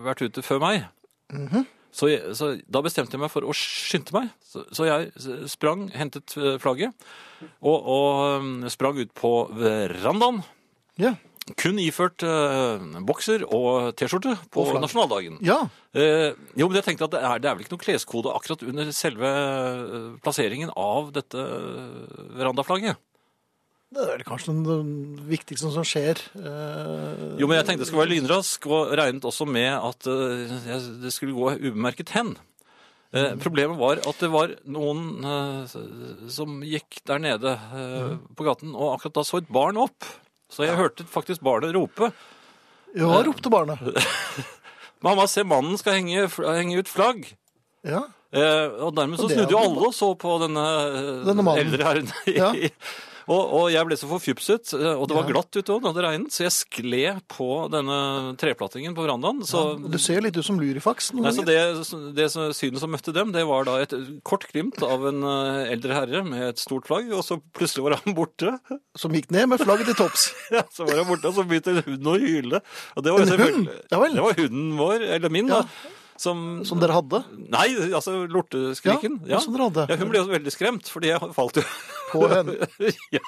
Speaker 2: vært ute før meg.
Speaker 1: Mhm.
Speaker 2: så, jeg, så da bestemte jeg meg for å skynde meg. Så, så jeg sprang, hentet eh, flagget, og, og eh, sprang ut på verandaen.
Speaker 1: Ja.
Speaker 2: Kun iført eh, bokser og T-skjorte på
Speaker 1: Og flagg.
Speaker 2: nasjonaldagen.
Speaker 1: ja.
Speaker 2: Eh, jo, men jeg tenkte at det er, det er vel ikke noen kleskode akkurat under selve eh, plasseringen av dette eh, verandaflagget.
Speaker 1: Det er vel kanskje den, den viktigste som skjer. eh,
Speaker 2: Jo, men jeg tenkte jeg skulle være lynrask, og regnet også med at eh, jeg, det skulle gå ubemerket hen. Eh, problemet var at det var noen eh, som gikk der nede eh,
Speaker 1: Mm.
Speaker 2: på gaten, og akkurat da så et barn opp. Så jeg hørte faktisk barnet rope.
Speaker 1: Ja, ropte
Speaker 2: (laughs)
Speaker 1: barnet.
Speaker 2: Mamma, se mannen skal henge, fl- henge ut flagg.
Speaker 1: Ja.
Speaker 2: Eh, og dermed så
Speaker 1: Og det
Speaker 2: snudde jo
Speaker 1: er-
Speaker 2: alle og så på denne, eh,
Speaker 1: Denne mannen.
Speaker 2: eldre herren. (laughs) i-
Speaker 1: Ja.
Speaker 2: Og, og jeg ble så forfjupset, eh, og det var
Speaker 1: Ja.
Speaker 2: glatt ute òg, det hadde regnet, så jeg skled på denne treplatingen på verandaen. Så,
Speaker 1: Du ser jo litt ut som lurifax. noen
Speaker 2: nei, så
Speaker 1: ganger.
Speaker 2: det, det som- synet som møtte dem, det var da et kort glimt av en eh, eldre herre med et stort flagg, og så plutselig var han borte. (laughs)
Speaker 1: Som gikk ned med flagget til topps.
Speaker 2: Ja, så var han borte, og så begynte hunden å hyle. Og det var jo
Speaker 1: En hund?
Speaker 2: selvfølgelig-
Speaker 1: Ja vel.
Speaker 2: Det var hunden vår, eller min,
Speaker 1: Ja.
Speaker 2: da. Som,
Speaker 1: Som dere hadde
Speaker 2: Nei, altså lorteskriken.
Speaker 1: Ja, som dere hadde.
Speaker 2: Ja, hun ble også veldig skremt, fordi jeg falt jo. (laughs)
Speaker 1: på henne.
Speaker 2: ja.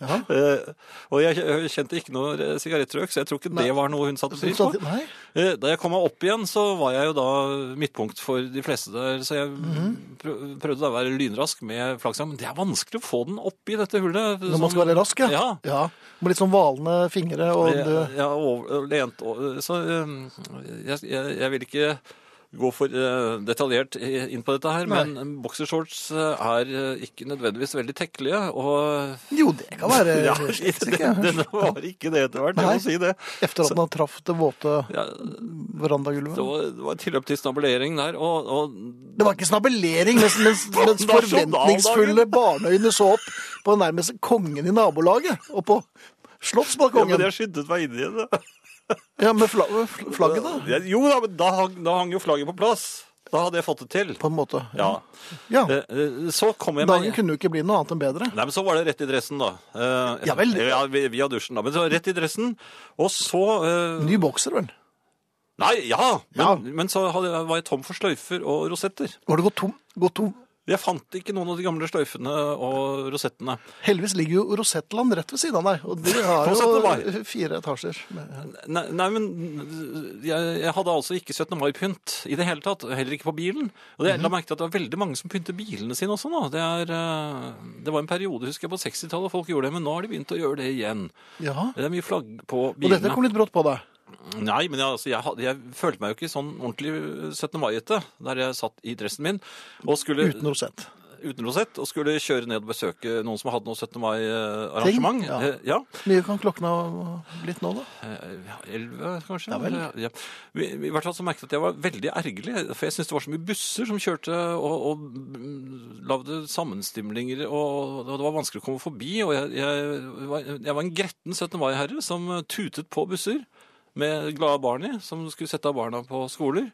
Speaker 1: Ja.
Speaker 2: Eh, og jeg kjente ikke noe eh, sigarettrøyk, så jeg tror ikke
Speaker 1: Nei.
Speaker 2: det var noe hun satte pris
Speaker 1: Så sa
Speaker 2: på.
Speaker 1: de, Nei,
Speaker 2: Eh, Da jeg kom meg opp igjen, så var jeg jo da midtpunkt for de fleste der, så jeg
Speaker 1: Mhm.
Speaker 2: prø- prøvde da å være lynrask med flaksa, men det er vanskelig å få den opp i dette hullet.
Speaker 1: når man skal være rask, ja.
Speaker 2: Ja.
Speaker 1: Med litt sånn valende fingre og
Speaker 2: Jeg,
Speaker 1: det-
Speaker 2: jeg, over, lent, over- så eh, jeg, jeg, jeg vil ikke gå for eh, detaljert i- inn på dette her,
Speaker 1: Nei.
Speaker 2: men boksershorts eh, er eh, ikke nødvendigvis veldig tekkelige, og
Speaker 1: Jo, det kan være
Speaker 2: (laughs) ja,
Speaker 1: sikkert.
Speaker 2: denne var ikke det etter hvert, jeg
Speaker 1: Nei.
Speaker 2: må si det.
Speaker 1: Efter at den har traff det våte
Speaker 2: Ja,
Speaker 1: verandagulvet.
Speaker 2: det var, det var tilløp til snabelering der, og, og
Speaker 1: Det var ikke snabelering, mens, mens, mens forventningsfulle barneøyne så opp på nærmest kongen i nabolaget, og på
Speaker 2: ja, men
Speaker 1: slottsbalkongen.
Speaker 2: jeg skyndet meg inn igjen. da.
Speaker 1: Ja, med fla med fl- flagget da,
Speaker 2: Ja, Jo da, men da hang, da hang jo flagget på plass. Da hadde jeg fått det til.
Speaker 1: på en måte.
Speaker 2: Ja.
Speaker 1: Ja,
Speaker 2: Eh, eh, Så kom jeg meg
Speaker 1: dagen kunne jo ikke bli noe annet enn bedre.
Speaker 2: Nei, men så var det rett i dressen, da. Eh,
Speaker 1: Ja vel.
Speaker 2: Ja, vi- via dusjen, da. Men så rett i dressen. Og så eh,
Speaker 1: Ny bokser, vel?
Speaker 2: Nei, ja! Men,
Speaker 1: Ja.
Speaker 2: men så hadde, jeg- var jeg tom for sløyfer og rosetter.
Speaker 1: Var det gått tom? Gått tom?
Speaker 2: Jeg fant ikke noen av de gamle sløyfene og rosettene.
Speaker 1: Heldigvis ligger jo Rosettland rett ved siden av deg, og de har
Speaker 2: Rosetteberg.
Speaker 1: jo fire etasjer. med-
Speaker 2: Nei, nei men jeg, jeg hadde altså ikke 17. mai-pynt i det hele tatt. og Heller ikke på bilen. Og jeg la
Speaker 1: Mhm.
Speaker 2: merke til at det var veldig mange som pynter bilene sine også nå. Det, er, eh, det var en periode, husker jeg, på 60-tallet folk gjorde det, men nå har de begynt å gjøre det igjen.
Speaker 1: Ja,
Speaker 2: Det er mye flagg på
Speaker 1: og
Speaker 2: bilene.
Speaker 1: dette kom litt brått på deg.
Speaker 2: Nei, men jeg, altså, jeg, hadde- jeg følte meg jo ikke sånn ordentlig 17. mai-ete der jeg satt i dressen min og skulle,
Speaker 1: Uten rosett.
Speaker 2: uten rosett og skulle kjøre ned og besøke noen som hadde noe 17. mai-arrangement.
Speaker 1: ja.
Speaker 2: Eh, Ja.
Speaker 1: Mye kan klokken ha blitt nå, da.
Speaker 2: Eh, 11, kanskje?
Speaker 1: Ja vel.
Speaker 2: Ja. I, I hvert fall så merket jeg at jeg var veldig ergerlig, for jeg syntes det var så mye busser som kjørte og, og mm, lagde sammenstimlinger, og, og det var vanskelig å komme forbi. Og jeg, jeg, var, jeg var en gretten 17. mai-herre som tutet på busser med glade barn i, som skulle sette av barna på skoler.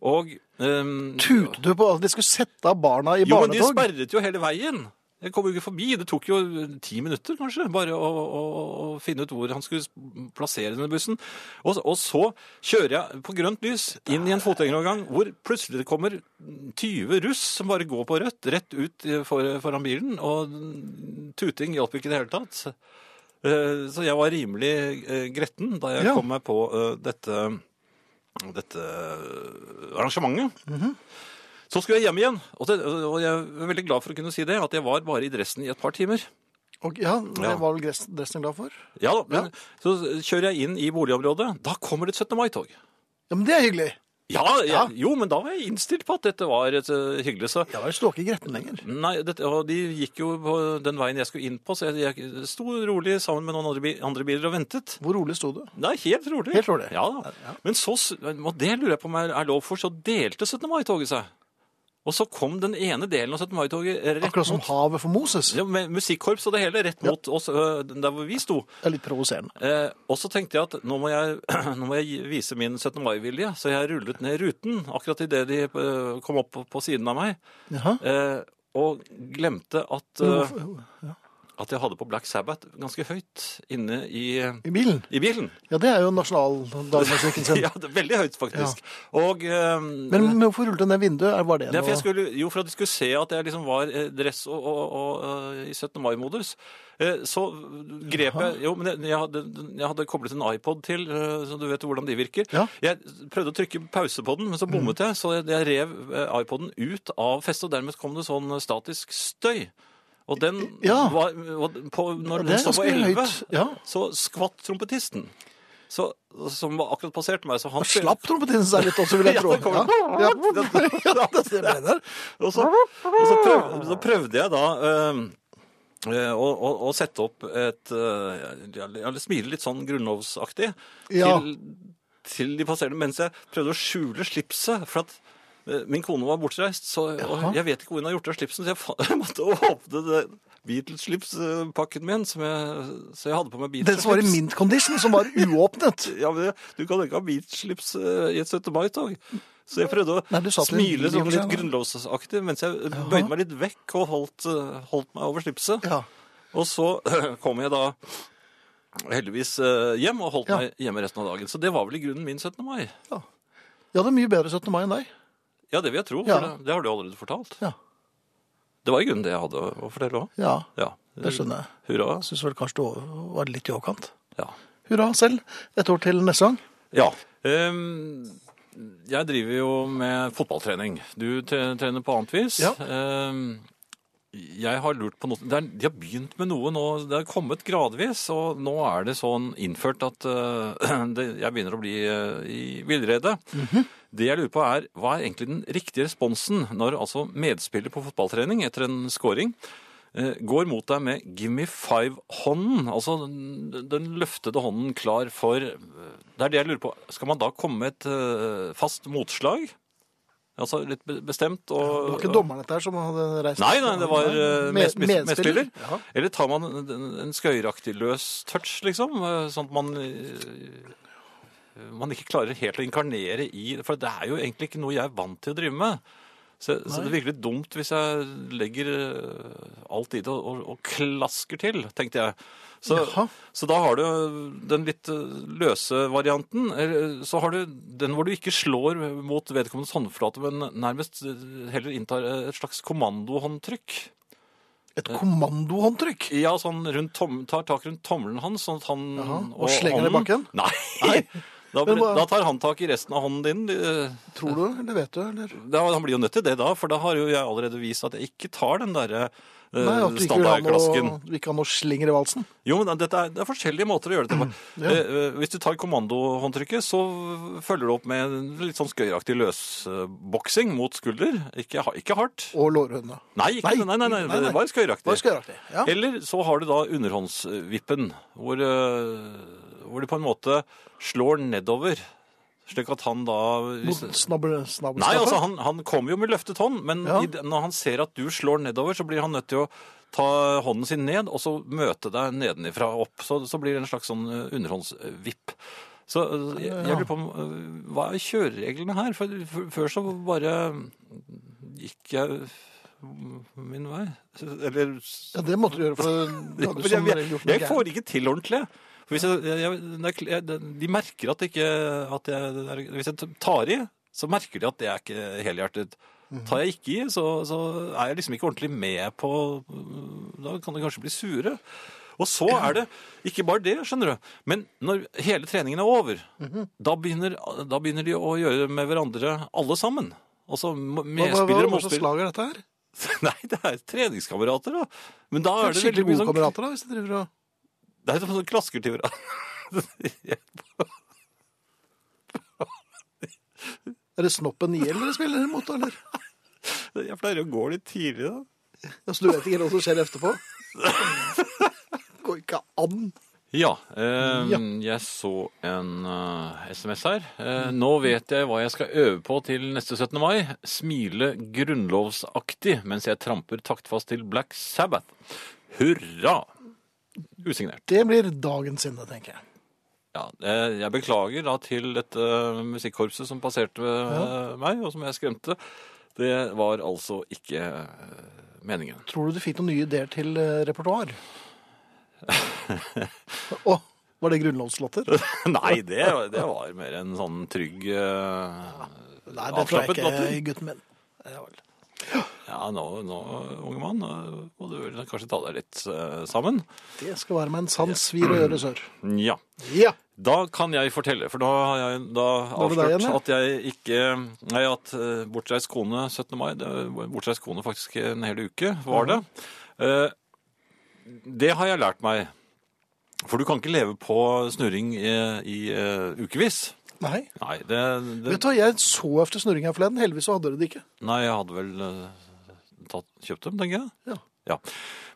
Speaker 2: Og ehm,
Speaker 1: Tutet du på at de skulle sette av barna i
Speaker 2: jo, men de
Speaker 1: barnetog?
Speaker 2: sperret jo hele veien. Jeg kom jo ikke forbi. Det tok jo ti minutter, kanskje, bare å, å, å finne ut hvor han skulle plassere denne bussen. Og, og så kjører jeg på grønt lys inn i en fotgjengerovergang hvor plutselig det kommer 20 russ som bare går på rødt, rett ut for, foran bilen. Og tuting hjalp ikke i det hele tatt. Eh, Så jeg var rimelig eh, gretten da jeg
Speaker 1: Ja.
Speaker 2: kom meg på eh, dette, dette arrangementet.
Speaker 1: Mhm.
Speaker 2: Så skulle jeg hjem igjen, og, det, og jeg er veldig glad for å kunne si det, at jeg var bare i dressen i et par timer.
Speaker 1: Og, ja, det
Speaker 2: Ja.
Speaker 1: var vel gress- dressen glad for?
Speaker 2: Ja da, men Så kjører jeg inn i boligområdet, da kommer det et 17. mai-tog.
Speaker 1: Ja, men det er hyggelig.
Speaker 2: Ja, jeg,
Speaker 1: Ja.
Speaker 2: jo, men da var jeg innstilt på at dette var et eh, hyggelig så.
Speaker 1: Ja, vel, står ikke gretten lenger.
Speaker 2: Nei, dette, og de gikk jo på den veien jeg skulle inn på, så jeg, jeg sto rolig sammen med noen andre, bi- andre biler og ventet.
Speaker 1: Hvor rolig sto du?
Speaker 2: Nei, helt rolig.
Speaker 1: Helt rolig.
Speaker 2: Ja da. Men så, s- og det lurer jeg på om er er lov for, så delte 17. mai-toget seg. Og så kom den ene delen av 17. mai-toget rett
Speaker 1: Akkurat sånn. som
Speaker 2: mot
Speaker 1: havet for Moses.
Speaker 2: Ja, med musikkorps og det hele, rett mot oss, ø, den der hvor vi sto.
Speaker 1: Det er litt provoserende.
Speaker 2: Eh, og så tenkte jeg at nå må jeg, (clears throat) nå må jeg gi- vise min 17. mai-vilje, så jeg rullet ned ruten akkurat idet de ø, kom opp på- på siden av meg,
Speaker 1: Jaha.
Speaker 2: eh, og glemte at,
Speaker 1: Men
Speaker 2: ø,
Speaker 1: hvorfor- ja.
Speaker 2: at jeg hadde på Black Sabbath ganske høyt inne i,
Speaker 1: I bilen?
Speaker 2: i bilen.
Speaker 1: Ja, det er jo
Speaker 2: (laughs)
Speaker 1: nasjonaldagmusikken sin.
Speaker 2: Ja, det er veldig høyt, faktisk. Og ø,
Speaker 1: Men men hvorfor rullet du ned vinduet? Er- Var det
Speaker 2: Det er for
Speaker 1: noe
Speaker 2: jeg skulle, jo, for at de skulle se at jeg liksom var eh, dress og, og, og eh, i 17. mai-modus. Eh, Så grep jeg Jo, men jeg, jeg, hadde, jeg hadde koblet en iPod til, eh, så du vet hvordan de virker.
Speaker 1: Ja. Mm.
Speaker 2: Jeg prøvde å trykke pause på den, men så bommet jeg, så jeg, jeg rev eh, iPoden ut av festet, og dermed kom det sånn statisk støy. Og den
Speaker 1: Ja.
Speaker 2: var og på, Når
Speaker 1: Ja,
Speaker 2: den
Speaker 1: det er
Speaker 2: stod på
Speaker 1: ganske
Speaker 2: 11,
Speaker 1: høyt, ja.
Speaker 2: så skvatt trompetisten. Så, som var akkurat passerte meg. Så han
Speaker 1: Slapp trompetinen seg litt også, vil jeg
Speaker 2: (laughs) Ja,
Speaker 1: tro.
Speaker 2: det kommer-
Speaker 1: Ja, (laughs) ja. ja det ser jeg der.
Speaker 2: Og så, og så, prøv, så prøvde jeg da eh, eh, å, å, å sette opp et eh, ja, ja, Smile litt sånn grunnlovsaktig
Speaker 1: Ja.
Speaker 2: til, til de passerende, mens jeg prøvde å skjule slipset. For at eh, Min kone var bortreist, så og
Speaker 1: Jaha.
Speaker 2: jeg vet ikke hvor hun har gjort av slipsen, så jeg, fa- (laughs) jeg måtte åpne den Beatles-slipspakken min, som jeg, så jeg hadde på meg
Speaker 1: Den
Speaker 2: Beatles-slips.
Speaker 1: som var i mint condition, som var uåpnet.
Speaker 2: (laughs) Ja, men det- du kan ikke ha Beatles-slips eh, i et 17. mai-tog. Så jeg prøvde å
Speaker 1: Nei, du satt i en
Speaker 2: smile
Speaker 1: bil i og
Speaker 2: sånn
Speaker 1: for
Speaker 2: litt
Speaker 1: seg, da.
Speaker 2: grunnlovsaktig, mens jeg bøyde meg litt vekk og holdt, eh, holdt meg over slipset.
Speaker 1: Ja.
Speaker 2: Og så (clears throat) kom jeg da heldigvis eh, hjem og holdt
Speaker 1: Ja.
Speaker 2: meg hjemme resten av dagen. Så det var vel i grunnen min 17. mai.
Speaker 1: Jeg hadde mye bedre 17. mai enn deg.
Speaker 2: Ja, det vil jeg tro, for
Speaker 1: Ja.
Speaker 2: det, det har du allerede fortalt.
Speaker 1: Ja.
Speaker 2: Det var i grunnen det jeg hadde å fortelle òg.
Speaker 1: Ja,
Speaker 2: Ja.
Speaker 1: det skjønner jeg.
Speaker 2: Hurra.
Speaker 1: Jeg syns vel kanskje det var litt i overkant.
Speaker 2: Ja.
Speaker 1: Hurra selv. Et år til neste gang.
Speaker 2: ja. Ehm, jeg driver jo med fotballtrening. Du tre- trener på annet vis.
Speaker 1: Ja.
Speaker 2: Ehm, jeg har lurt på noe det er, De har begynt med noe nå. Det har kommet gradvis, og nå er det sånn innført at eh, (clears throat) det, jeg begynner å bli eh, i villrede.
Speaker 1: Mhm.
Speaker 2: Det jeg lurer på er, hva er egentlig den riktige responsen når altså medspiller på fotballtrening etter en scoring eh, går mot deg med 'give me five'-hånden, altså den, den løftede hånden klar for eh, Det er det jeg lurer på. Skal man da komme med et eh, fast motslag? Altså litt be- bestemt og
Speaker 1: Det var ikke dommeren dette her som hadde reist
Speaker 2: Nei, nei, det var eh,
Speaker 1: Med-
Speaker 2: med- med- medspiller.
Speaker 1: Ja.
Speaker 2: Eller tar man en, en- en skøyeraktig løs touch, liksom? eh, Sånn at man eh, man ikke klarer helt å inkarnere i For det er jo egentlig ikke noe jeg er vant til å drive med. Så, så det virker litt dumt hvis jeg legger eh, alt i det og, og, og klasker til, tenkte jeg. Så,
Speaker 1: Jaha.
Speaker 2: så da har du den litt eh, løse varianten. eller Så har du den hvor du ikke slår mot vedkommendes håndflate, men nærmest eh, heller inntar eh, et slags kommandohåndtrykk.
Speaker 1: Et kommandohåndtrykk.
Speaker 2: Ja, sånn rundt tom, tar tak rundt tommelen hans, sånn at han
Speaker 1: Jaha, og slenger den i
Speaker 2: hånden-
Speaker 1: bakken?
Speaker 2: Nei!
Speaker 1: Nei.
Speaker 2: (laughs) Da,
Speaker 1: Men
Speaker 2: blir-
Speaker 1: hva-
Speaker 2: da tar han tak i resten av hånden din. eh,
Speaker 1: Tror du, eller vet du? Eller?
Speaker 2: Da, han blir jo nødt til det da, for da har jo jeg allerede vist at jeg ikke tar den derre
Speaker 1: Nei,
Speaker 2: uh,
Speaker 1: at du ikke vil ha
Speaker 2: standardklasken.
Speaker 1: noe, du ikke har noe slinger i valsen.
Speaker 2: Jo, men dette er, det er forskjellige måter å gjøre det på. Eh, eh, hvis du tar kommandohåndtrykket, så følger du opp med en litt sånn skøyeraktig løsboksing mot skulder. Ikke, ha- ikke hardt.
Speaker 1: Og lårhøna.
Speaker 2: Nei, ikke, nei, nei, nei,
Speaker 1: nei, nei.
Speaker 2: det var skøyeraktig.
Speaker 1: Hva skal jeg gjøre? Ja.
Speaker 2: Eller så har du da underhåndsvippen, hvor, eh, hvor du på en måte slår nedover, slik at han da
Speaker 1: Mot snabbel, snabbel,
Speaker 2: Nei, altså, han, han kommer jo med løftet hånd, men
Speaker 1: Ja.
Speaker 2: i, det- når han ser at du slår nedover, så blir han nødt til å ta hånden sin ned, og så møte deg nedenifra og opp. Så, så blir det en slags sånn eh, underhåndsvipp. Så eh, jeg, jeg lurer på om, eh, Hva er kjørereglene her? For, for, før så bare gikk jeg min vei. Eller
Speaker 1: Ja, det måtte du
Speaker 2: (laughs)
Speaker 1: gjøre, for du
Speaker 2: ja,
Speaker 1: hadde
Speaker 2: men
Speaker 1: som
Speaker 2: jeg,
Speaker 1: regel sånn gjort noe
Speaker 2: jeg får ikke til ordentlig. For hvis jeg, jeg, jeg, det er kl- jeg, det- de merker at, ikke, at jeg, det er- Hvis jeg tar i, så merker de at det er ikke helhjertet. Tar jeg ikke i, så, så er jeg liksom ikke ordentlig med på Da kan de kanskje bli sure. Og så er det ikke bare det, skjønner du. Men når hele treningen er over, da, begynner, da begynner de å gjøre med hverandre alle sammen. Altså
Speaker 1: Hva- hva-
Speaker 2: medspillere og
Speaker 1: Hva slags
Speaker 2: motspillere.
Speaker 1: lag er dette her?
Speaker 2: (laughs) Nei, det er treningskamerater, da. Men da
Speaker 1: Det
Speaker 2: er
Speaker 1: er
Speaker 2: det
Speaker 1: skikkelig
Speaker 2: veldig mye
Speaker 1: gode
Speaker 2: sånn
Speaker 1: kamerater, da, hvis de driver og
Speaker 2: det er sånn klasker til hverandre.
Speaker 1: Er det snoppen IL dere spiller mot, eller?
Speaker 2: (laughs) Jeg pleier å gå litt tidlig, da.
Speaker 1: Ja, så du vet ikke hva som skjer etterpå? (laughs) Går ikke an.
Speaker 2: Ja, eh,
Speaker 1: Ja.
Speaker 2: jeg så en eh, SMS her. Eh, nå vet jeg hva jeg skal øve på til neste 17. mai. Smile grunnlovsaktig mens jeg tramper taktfast til Black Sabbath. Hurra! Usignert.
Speaker 1: Det blir dagen sinne, tenker jeg.
Speaker 2: Ja, eh, jeg beklager da til dette musikkorpset som passerte eh, meg, og som jeg skremte. Det var altså ikke eh, meningen.
Speaker 1: Tror du du fikk noen nye ideer til eh, repertoar? (laughs) Å, var det grunnlovslåter?
Speaker 2: (laughs) Nei, det, det var mer en sånn trygg eh,
Speaker 1: Nei, det tror jeg
Speaker 2: Avslappet latter.
Speaker 1: ikke, gutten min. Ja, vel.
Speaker 2: Ja, nå, nå unge mann, nå må du vel kanskje ta deg litt eh, sammen.
Speaker 1: Det skal være meg en sann svir å gjøre sør.
Speaker 2: Ja.
Speaker 1: Ja.
Speaker 2: Da kan jeg fortelle, for da har jeg da
Speaker 1: Var det deg
Speaker 2: avslørt
Speaker 1: igjen,
Speaker 2: at jeg ikke Nei, at eh, bortreist kone 17. mai det, var Bortreist kone faktisk en hel uke, var det. Eh, det har jeg lært meg. For du kan ikke leve på snurring i, i eh, ukevis.
Speaker 1: Nei.
Speaker 2: Nei, det, det
Speaker 1: Vet du hva, jeg så efter snurring her forleden. Heldigvis så hadde dere det ikke.
Speaker 2: Nei, jeg hadde vel eh, tatt, kjøpt dem, tenker jeg.
Speaker 1: Ja.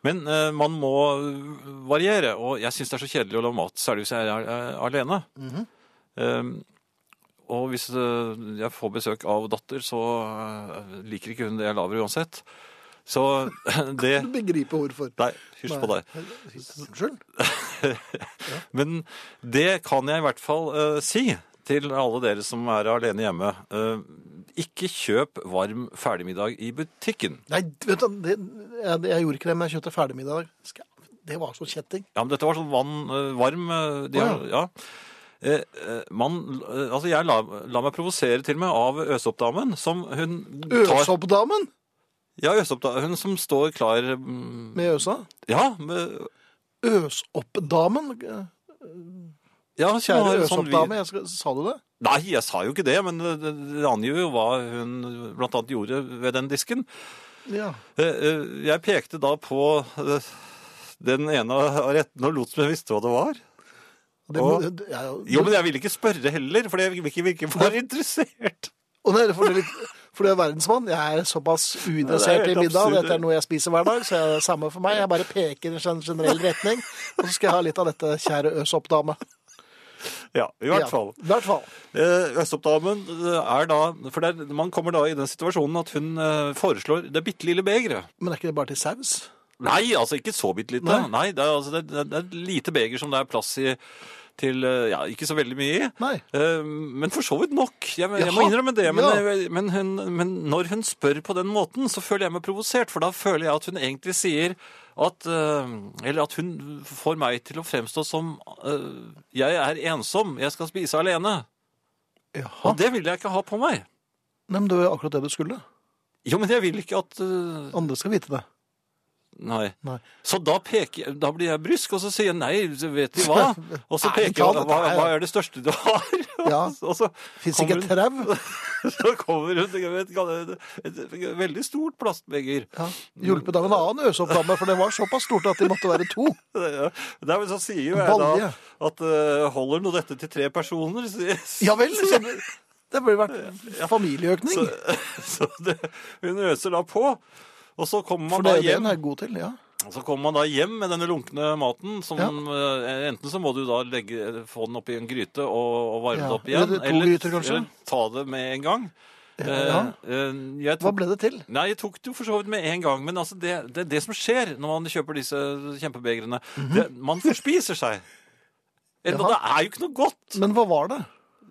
Speaker 2: Men eh, man må variere, og jeg syns det er så kjedelig å lage mat, særlig hvis jeg er eh, alene. Eh, Og hvis eh, jeg får besøk av datter, så eh, liker ikke hun det jeg lager uansett. Så (laughs) det
Speaker 1: Du begriper hvorfor.
Speaker 2: Nei, hysj på deg.
Speaker 1: Unnskyld?
Speaker 2: Men det kan jeg i hvert fall eh, si til alle dere som er alene hjemme. Eh, ikke kjøp varm ferdigmiddag i butikken.
Speaker 1: Nei, vet du, det, jeg, jeg gjorde ikke det, men jeg kjøpte ferdigmiddag i dag. Skal jeg- Det var så kjetting.
Speaker 2: Ja, men dette var sånn vann, eh, varm eh, de,
Speaker 1: Å,
Speaker 2: har- ja. Eh, eh, man, eh, altså jeg la, la meg provosere til og med av Øsoppdamen, som hun tar
Speaker 1: Øsoppdamen
Speaker 2: Ja, Øsoppda- hun som står klar mm,
Speaker 1: med Øsa.
Speaker 2: Ja, med,
Speaker 1: Øsoppdamen.
Speaker 2: ja hun
Speaker 1: Kjære
Speaker 2: har sånn vid-
Speaker 1: Øsoppdame, jeg skal, sa du det?
Speaker 2: Nei, jeg sa jo ikke det, men det, det angir jo hva hun blant annet gjorde ved den disken.
Speaker 1: Ja.
Speaker 2: Eh, eh, Jeg pekte da på eh, den ene av rettene og lot som jeg visste hva det var.
Speaker 1: Det,
Speaker 2: Å.
Speaker 1: det, det er jo-
Speaker 2: Jo, men jeg ville ikke spørre heller, for jeg ville ikke virke for (laughs) interessert.
Speaker 1: Og det er for, det er litt, for det er verdensmann. Jeg er såpass
Speaker 2: Ja,
Speaker 1: uinteressert
Speaker 2: det er
Speaker 1: i
Speaker 2: helt
Speaker 1: middag.
Speaker 2: absurd.
Speaker 1: Dette er noe jeg spiser hver dag, så det er det samme for meg. Jeg bare peker i en generell retning, og så skal jeg ha litt av dette, kjære Øsoppdame.
Speaker 2: Ja, i hvert fall.
Speaker 1: Ja, I hvert fall.
Speaker 2: Eh, Østoppdamen eh, er da For det er- man kommer da i den situasjonen at hun eh, foreslår det bitte lille begeret.
Speaker 1: Men er ikke det bare til saus?
Speaker 2: Nei, altså ikke så bitte lite. Nei, det, er, altså, det, det, det er et lite beger som det er plass i til eh, Ja, ikke så veldig mye i.
Speaker 1: Nei.
Speaker 2: Eh, Men for så vidt nok. Jeg, jeg må
Speaker 1: Jaha.
Speaker 2: innrømme det. Men,
Speaker 1: Ja.
Speaker 2: jeg- men, hun, men når hun spør på den måten, så føler jeg meg provosert. For da føler jeg at hun egentlig sier at eh, Eller at hun får meg til å fremstå som eh, Jeg er ensom, jeg skal spise alene.
Speaker 1: Jaha.
Speaker 2: Og det vil jeg ikke ha på meg.
Speaker 1: Nei, men det var jo akkurat det du skulle.
Speaker 2: Jo, men jeg vil ikke at eh,
Speaker 1: Andre skal vite det.
Speaker 2: Nei.
Speaker 1: Nei.
Speaker 2: Så da, peker, jeg- da blir jeg brysk, og så sier jeg nei, så vet du
Speaker 1: (laughs)
Speaker 2: hva? Og så
Speaker 1: Ærlig
Speaker 2: peker jeg
Speaker 1: talt, dette
Speaker 2: hva,
Speaker 1: er-
Speaker 2: hva er det største du har? (laughs)
Speaker 1: Ja.
Speaker 2: Og så
Speaker 1: Fins
Speaker 2: kommer
Speaker 1: ikke et trau?
Speaker 2: hun- Så kommer hun til et, et, et veldig stort plastbeger. (laughs)
Speaker 1: Ja. Hjulpet av en annen Øsoppdame, for det var såpass stort at de måtte være to.
Speaker 2: Det er vel så sier jo jeg da
Speaker 1: Balje.
Speaker 2: at eh, holder nå dette til tre personer? (laughs) Så,
Speaker 1: (laughs) Ja vel! Så det, det burde vært familieøkning.
Speaker 2: så, så det, hun øser da på. Og så kommer man
Speaker 1: For det
Speaker 2: da
Speaker 1: er jo det
Speaker 2: hjem
Speaker 1: hun er god til. ja.
Speaker 2: Og Så kommer man da hjem med denne lunkne maten. Som,
Speaker 1: Ja.
Speaker 2: eh, Enten så må du da legge, få den oppi en gryte og, og varme
Speaker 1: Ja,
Speaker 2: det opp igjen.
Speaker 1: eller to gryter, kanskje?
Speaker 2: ta det med en gang.
Speaker 1: Ja.
Speaker 2: Eh, eh, jeg
Speaker 1: Hva
Speaker 2: tok,
Speaker 1: ble det til?
Speaker 2: Nei, jeg tok det jo for så vidt med en gang. Men altså det, det, det som skjer når man kjøper disse kjempebegrene det, Man forspiser seg. Eller,
Speaker 1: Mhm. (laughs) Jaha.
Speaker 2: det er jo ikke noe godt.
Speaker 1: Men hva var det?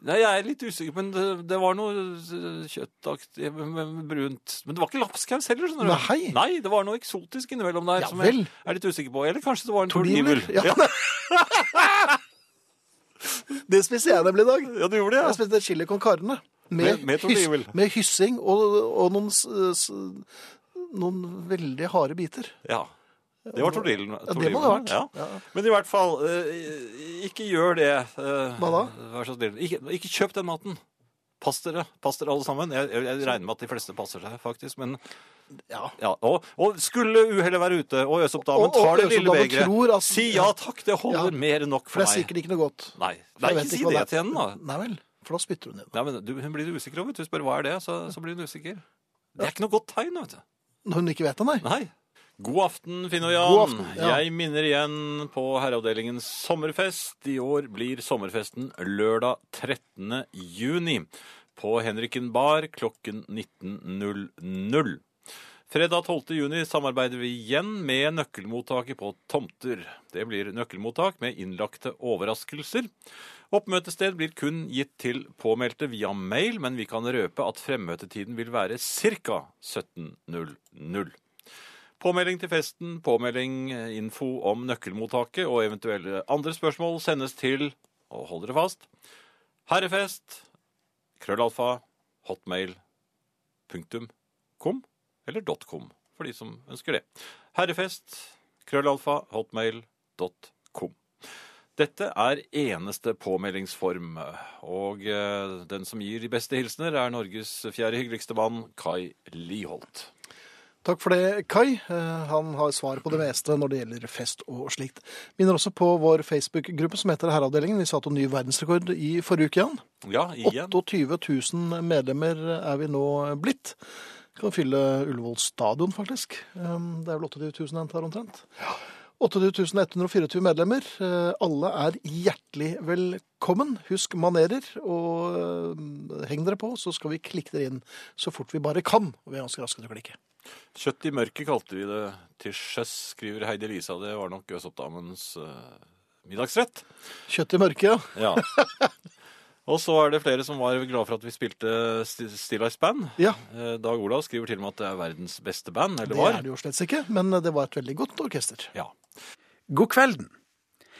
Speaker 2: Nei, jeg er litt usikker, men det, det var noe eh, kjøttaktig, men- men brunt Men det var ikke lapskaus heller, skjønner du.
Speaker 1: Nei.
Speaker 2: Nei, det var noe eksotisk innimellom der
Speaker 1: Ja
Speaker 2: som jeg
Speaker 1: vel.
Speaker 2: er litt usikker på. Eller kanskje det var en
Speaker 1: Oliver?
Speaker 2: tordivel.
Speaker 1: Ja. (laughs) det spiste jeg nemlig i dag.
Speaker 2: Ja, du gjorde det, ja.
Speaker 1: Jeg spiste chili con carne. Med,
Speaker 2: Med- med tordivel.
Speaker 1: hyss, med hyssing og, og noen, s- s- noen veldig harde biter.
Speaker 2: Ja. Det var tordilen.
Speaker 1: Ja, det må det ha vært.
Speaker 2: Ja.
Speaker 1: Ja.
Speaker 2: Men i hvert fall, eh, ikke gjør det. eh,
Speaker 1: Hva da?
Speaker 2: Vær så snill. Ikke, ikke kjøp den maten. Pass dere, pass dere alle sammen. Jeg, jeg, jeg regner med at de fleste passer seg, faktisk. Men,
Speaker 1: Ja.
Speaker 2: ja, og, og skulle uhellet være ute, og Øsoppdamen
Speaker 1: Og- og
Speaker 2: tar det lille
Speaker 1: Øsoppdamen tror
Speaker 2: begeret
Speaker 1: at-
Speaker 2: Si ja takk, det holder
Speaker 1: Ja.
Speaker 2: mer enn nok
Speaker 1: For
Speaker 2: for,
Speaker 1: det er
Speaker 2: meg.
Speaker 1: sikkert ikke noe godt. For
Speaker 2: Nei, nei
Speaker 1: jeg
Speaker 2: ikke
Speaker 1: vet
Speaker 2: si
Speaker 1: hva
Speaker 2: det
Speaker 1: er.
Speaker 2: til henne, da.
Speaker 1: Nei vel, for da spytter hun i det.
Speaker 2: Nei, men du, hun blir usikker over. Du spør hva er det, så, så blir hun usikker. Det er ikke noe godt tegn, vet du.
Speaker 1: Når hun ikke vet det, nei.
Speaker 2: Nei. God aften, Finn og Jan.
Speaker 1: God aften, ja.
Speaker 2: Jeg minner igjen på Herreavdelingens sommerfest. I år blir sommerfesten lørdag 13. juni på Henriken bar klokken 19.00. Fredag 12. juni samarbeider vi igjen med Nøkkelmottaket på Tomter. Det blir nøkkelmottak med innlagte overraskelser. Oppmøtested blir kun gitt til påmeldte via mail, men vi kan røpe at fremmøtetiden vil være ca. 17.00. Påmelding til festen, påmelding, eh, info om nøkkelmottaket og eventuelle andre spørsmål sendes til, og hold dere fast, herrefest, krøllalfa, hotmail, punktum, kom, eller dot com, for de som ønsker det. Herrefest, krøllalfa, hotmail, dot com. Dette er eneste påmeldingsform, og eh, den som gir de beste hilsener er Norges fjerde hyggeligste mann, Kai Liholt.
Speaker 1: Takk for det, Kai. Eh, Han har svar på det meste når det gjelder fest og slikt. Minner også på vår Facebook-gruppe som heter Herreavdelingen. Vi satte jo ny verdensrekord i forrige uke, Jan.
Speaker 2: Ja, igjen.
Speaker 1: 28 000 medlemmer er vi nå blitt. Kan fylle Ullevål stadion, faktisk. Eh, Det er vel 28 000 her omtrent. 8124 medlemmer. Eh, Alle er hjertelig velkommen. Husk manerer, og eh, heng dere på, så skal vi klikke dere inn så fort vi bare kan. Og vi er ganske raske til å klikke.
Speaker 2: Kjøtt i mørket kalte vi det til sjøs, skriver Heidi Lisa. Det var nok Øsoppdamens eh, middagsrett.
Speaker 1: Kjøtt i mørket, ja.
Speaker 2: Ja. (laughs) Og så er det flere som var glad for at vi spilte Sti- Still Ice Band.
Speaker 1: Ja,
Speaker 2: Eh, Dag Olav skriver til og med at det er verdens beste band, eller
Speaker 1: det
Speaker 2: var.
Speaker 1: er det jo slett ikke, men eh, det var et veldig godt orkester.
Speaker 2: Ja.
Speaker 4: God kvelden.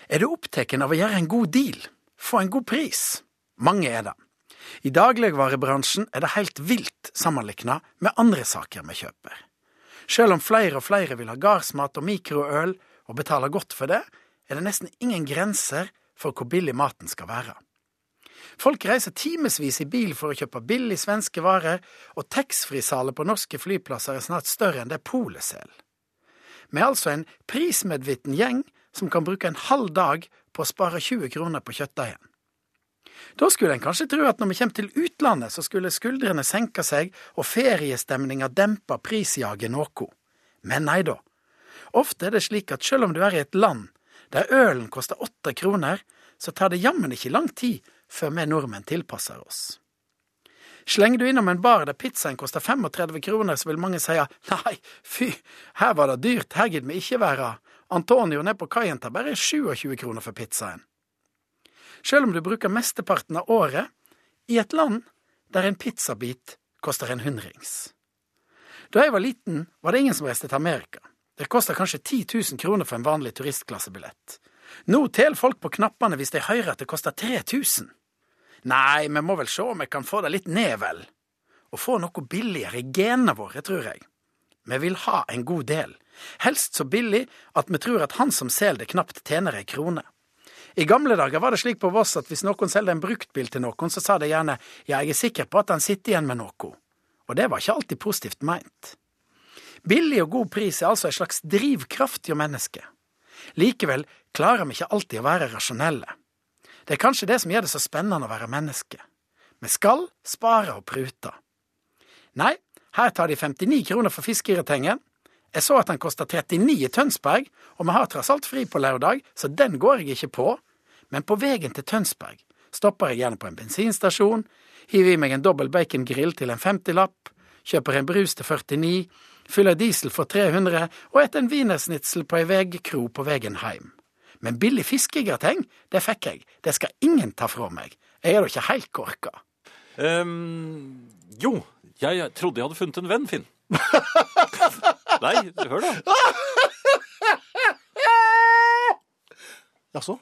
Speaker 4: Er du opptatt av å gjøre en god deal? Få en god pris? Mange er det. I dagligvarebransjen er det helt vilt sammenlikna med andre saker vi kjøper. Selv om flere og flere vil ha gardsmat og mikroøl og betaler godt for det, er det nesten ingen grenser for hvor billig maten skal være. Folk reiser timevis i bil for å kjøpe billig svenske varer, og taxfree-salet på norske flyplasser er snart større enn det polet selger. Vi er altså en prismedvitten gjeng som kan bruke en halv dag på å spare 20 kroner på kjøttdeigen. Da skulle en kanskje tro at når vi kommer til utlandet, så skulle skuldrene senke seg og feriestemninga dempe prisjaget noe. Men nei da. Ofte er det slik at selv om du er i et land der ølen koster åtte kroner, så tar det jammen ikke lang tid før vi nordmenn tilpasser oss. Slenger du innom en bar der pizzaen koster 35 kroner, så vil mange si nei, fy, her var det dyrt, her gidder vi ikke være. Antonio ned på kaien tar bare 27 kroner for pizzaen. Selv om du bruker mesteparten av året i et land der en pizzabit koster en hundrings. Da jeg var liten, var det ingen som reiste til Amerika. Det koster kanskje 10 000 kroner for en vanlig turistklassebillett. Nå teller folk på knappene hvis de hører at det koster 3000. Nei, vi må vel se om vi kan få det litt ned, vel. Og få noe billigere i genene våre, tror jeg. Vi vil ha en god del. Helst så billig at vi tror at han som selger det, knapt tjener ei krone. I gamle dager var det slik på Voss at hvis noen selgte en bruktbil til noen, så sa de gjerne ja, jeg er sikker på at han sitter igjen med noe. Og det var ikke alltid positivt meint. Billig og god pris er altså ei slags drivkraft hjå mennesket. Likevel klarer vi ikke alltid å være rasjonelle. Det er kanskje det som gjør det så spennende å være menneske. Vi skal spare og prute. Nei, her tar de 59 kroner for fiskegratengen. Jeg så at den koster 39 i Tønsberg, og vi har tross alt fri på lørdag, så den går jeg ikke på. Men på veien til Tønsberg stopper jeg gjerne på en bensinstasjon, hiver i meg en dobbel bacongrill til en 50-lapp, kjøper en brus til 49, fyller diesel for 300 og et en wienersnitsel på ei veikro på veien heim. Men billig fiskegrateng, det fikk jeg. Det skal ingen ta fra meg. Jeg er da ikke helt korka.
Speaker 2: Ehm, jo, jeg trodde jeg hadde funnet en venn,
Speaker 1: (laughs)
Speaker 2: Finn. Nei, hør da.
Speaker 1: Jaså?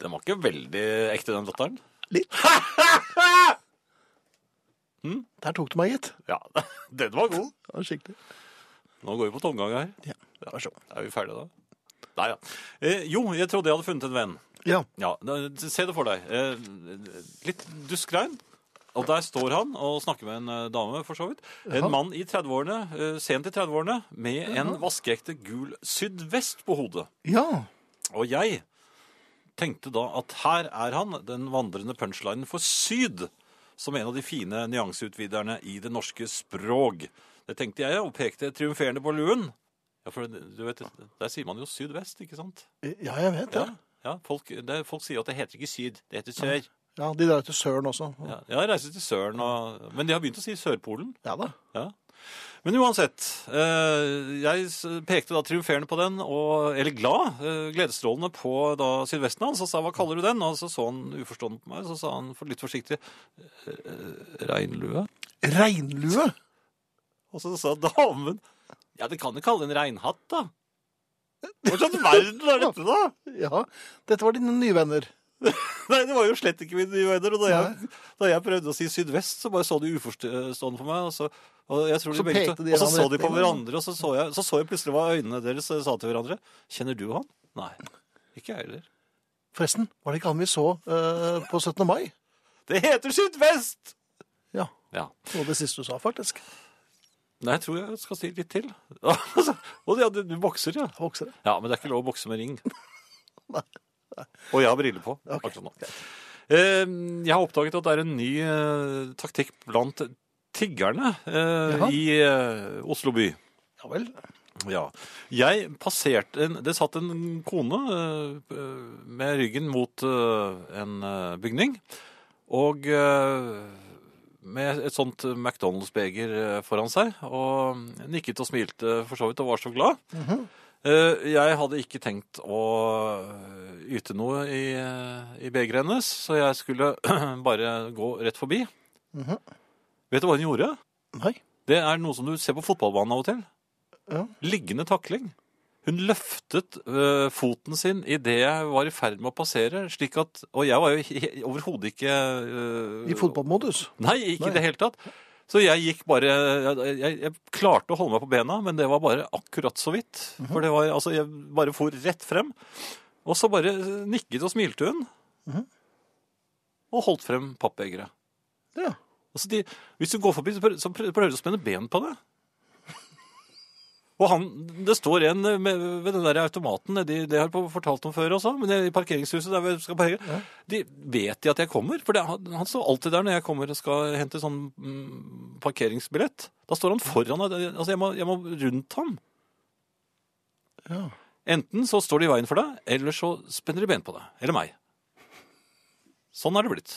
Speaker 2: Den var ikke veldig ekte, den datteren.
Speaker 1: (laughs) Litt. Der tok du meg, gitt.
Speaker 2: Ja, (laughs) den var god.
Speaker 1: Hmm? Det var skikkelig.
Speaker 2: Nå går vi på tomgang her.
Speaker 1: Ja, vær så god.
Speaker 2: Er vi ferdige da? Nei da. Eh, jo, jeg trodde jeg hadde funnet en venn.
Speaker 1: Ja.
Speaker 2: Ja, da- Se det for deg. Eh, litt duskregn. Og der står han og snakker med en eh, dame, for så vidt. En mann i 30-årene, eh, sent i 30-årene, med en vaskeekte gul sydvest på hodet.
Speaker 1: ja.
Speaker 2: Og jeg tenkte da at her er han, den vandrende punchlinen for syd, som en av de fine nyanseutviderne i det norske språk. Det tenkte jeg, og pekte triumferende på luen. Ja, for du vet, Der sier man jo sydvest, ikke sant?
Speaker 1: Ja, jeg vet det.
Speaker 2: Ja, ja folk, det, folk sier at det heter ikke syd, det heter sør.
Speaker 1: Ja, de drar til Søren også.
Speaker 2: Ja, jeg reiser til søren, og, men de har begynt å si Sørpolen.
Speaker 1: Ja da.
Speaker 2: Ja. Men uansett, eh, jeg s- pekte da triumferende på den, og, eller glad, eh, gledesstrålende på da sydvesten hans, og sa hva kaller du den? Og så så han uforstående på meg, så sa han for litt forsiktig eh, regnlue.
Speaker 1: Regnlue.
Speaker 2: Og så sa damen ja, det kan du kalle en regnhatt, da. Hva slags verden er dette, da?
Speaker 1: Ja. Dette var dine nye venner.
Speaker 2: Nei, det var jo slett ikke mine nye venner. Og da
Speaker 1: Nei.
Speaker 2: jeg, da jeg prøvde å si sydvest, så bare så de uforstående på meg. Og så, og jeg tror
Speaker 1: Så
Speaker 2: de begge,
Speaker 1: pekte
Speaker 2: to-
Speaker 1: de i
Speaker 2: og så
Speaker 1: annen
Speaker 2: så de
Speaker 1: retning,
Speaker 2: på
Speaker 1: liksom. da.
Speaker 2: hverandre, og så så jeg, så så jeg plutselig hva øynene deres eh, sa til hverandre. Kjenner du han? Nei. Ikke jeg heller.
Speaker 1: Forresten, var det ikke han vi så eh, på 17. mai?
Speaker 2: Det heter sydvest!
Speaker 1: Ja.
Speaker 2: Ja.
Speaker 1: Det var det siste du sa, faktisk.
Speaker 2: Nei, jeg tror jeg skal si litt til. (laughs) og ja, du, du bokser, ja.
Speaker 1: Jeg vokser det.
Speaker 2: Ja, men det er ikke lov å bokse med ring.
Speaker 1: Nei.
Speaker 2: Og jeg har briller på.
Speaker 1: Ok.
Speaker 2: akkurat nå. Eh, Jeg har oppdaget at det er en ny eh, taktikk blant tiggerne eh,
Speaker 1: Jaha.
Speaker 2: i eh, Oslo by.
Speaker 1: Ja vel.
Speaker 2: Ja. Jeg passerte en, Det satt en kone eh, med ryggen mot eh, en eh, bygning. Og eh, med et sånt McDonald's-beger eh, foran seg. Og nikket og smilte for så vidt og var så glad. Eh, Jeg hadde ikke tenkt å yte noe i, eh, i begeret hennes, så jeg skulle (clears throat) bare gå rett forbi.
Speaker 1: Mhm.
Speaker 2: Vet du hva hun gjorde?
Speaker 1: Nei.
Speaker 2: Det er noe som du ser på fotballbanen av og til.
Speaker 1: Ja.
Speaker 2: Liggende takling. Hun løftet øh, foten sin idet jeg var i ferd med å passere, slik at Og jeg var jo he- overhodet ikke øh,
Speaker 1: I fotballmodus.
Speaker 2: Nei, ikke i det hele tatt. Så jeg gikk bare jeg, jeg, jeg klarte å holde meg på bena, men det var bare akkurat så vidt.
Speaker 1: Mhm.
Speaker 2: For det var, altså, jeg bare for rett frem. Og så bare nikket og smilte hun.
Speaker 1: Mhm.
Speaker 2: Og holdt frem pappbegeret.
Speaker 1: Ja.
Speaker 2: Altså de, hvis du går forbi, så prø- så prø- prøver du å spenne ben på det. Og han, det står en med, ved den der automaten, de, det har jeg fortalt om før også, men i parkeringshuset der vi skal parkere, de vet de at jeg kommer, for det, han, han står alltid der når jeg kommer og skal hente sånn mm, parkeringsbillett. Da står han foran, altså jeg må, jeg må rundt ham.
Speaker 1: Ja.
Speaker 2: Enten så står de i veien for deg, eller så spenner de ben på deg, eller meg. Sånn er det blitt.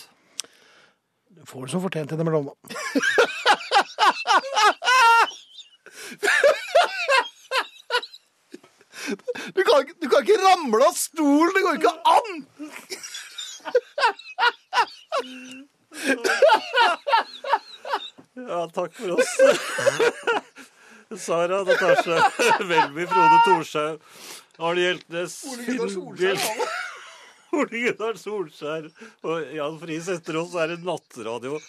Speaker 1: Du får det som fortjent innimellom, da. Du kan, ikke- du kan ikke ramle av stolen! Det går ikke an!
Speaker 2: Ja, takk for oss. (laughs) Sara Natasja Welby, Frode Thorshaug, Arne Hjeltnes, Finn Bjelke, (laughs) Ole Gunnar Solskjær og Jan Friis etter oss er det nattradio.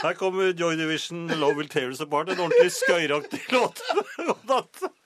Speaker 2: Her kommer Joy Division, Love Will Tear Us Apart, en ordentlig skøyeraktig (laughs) låt. om natten.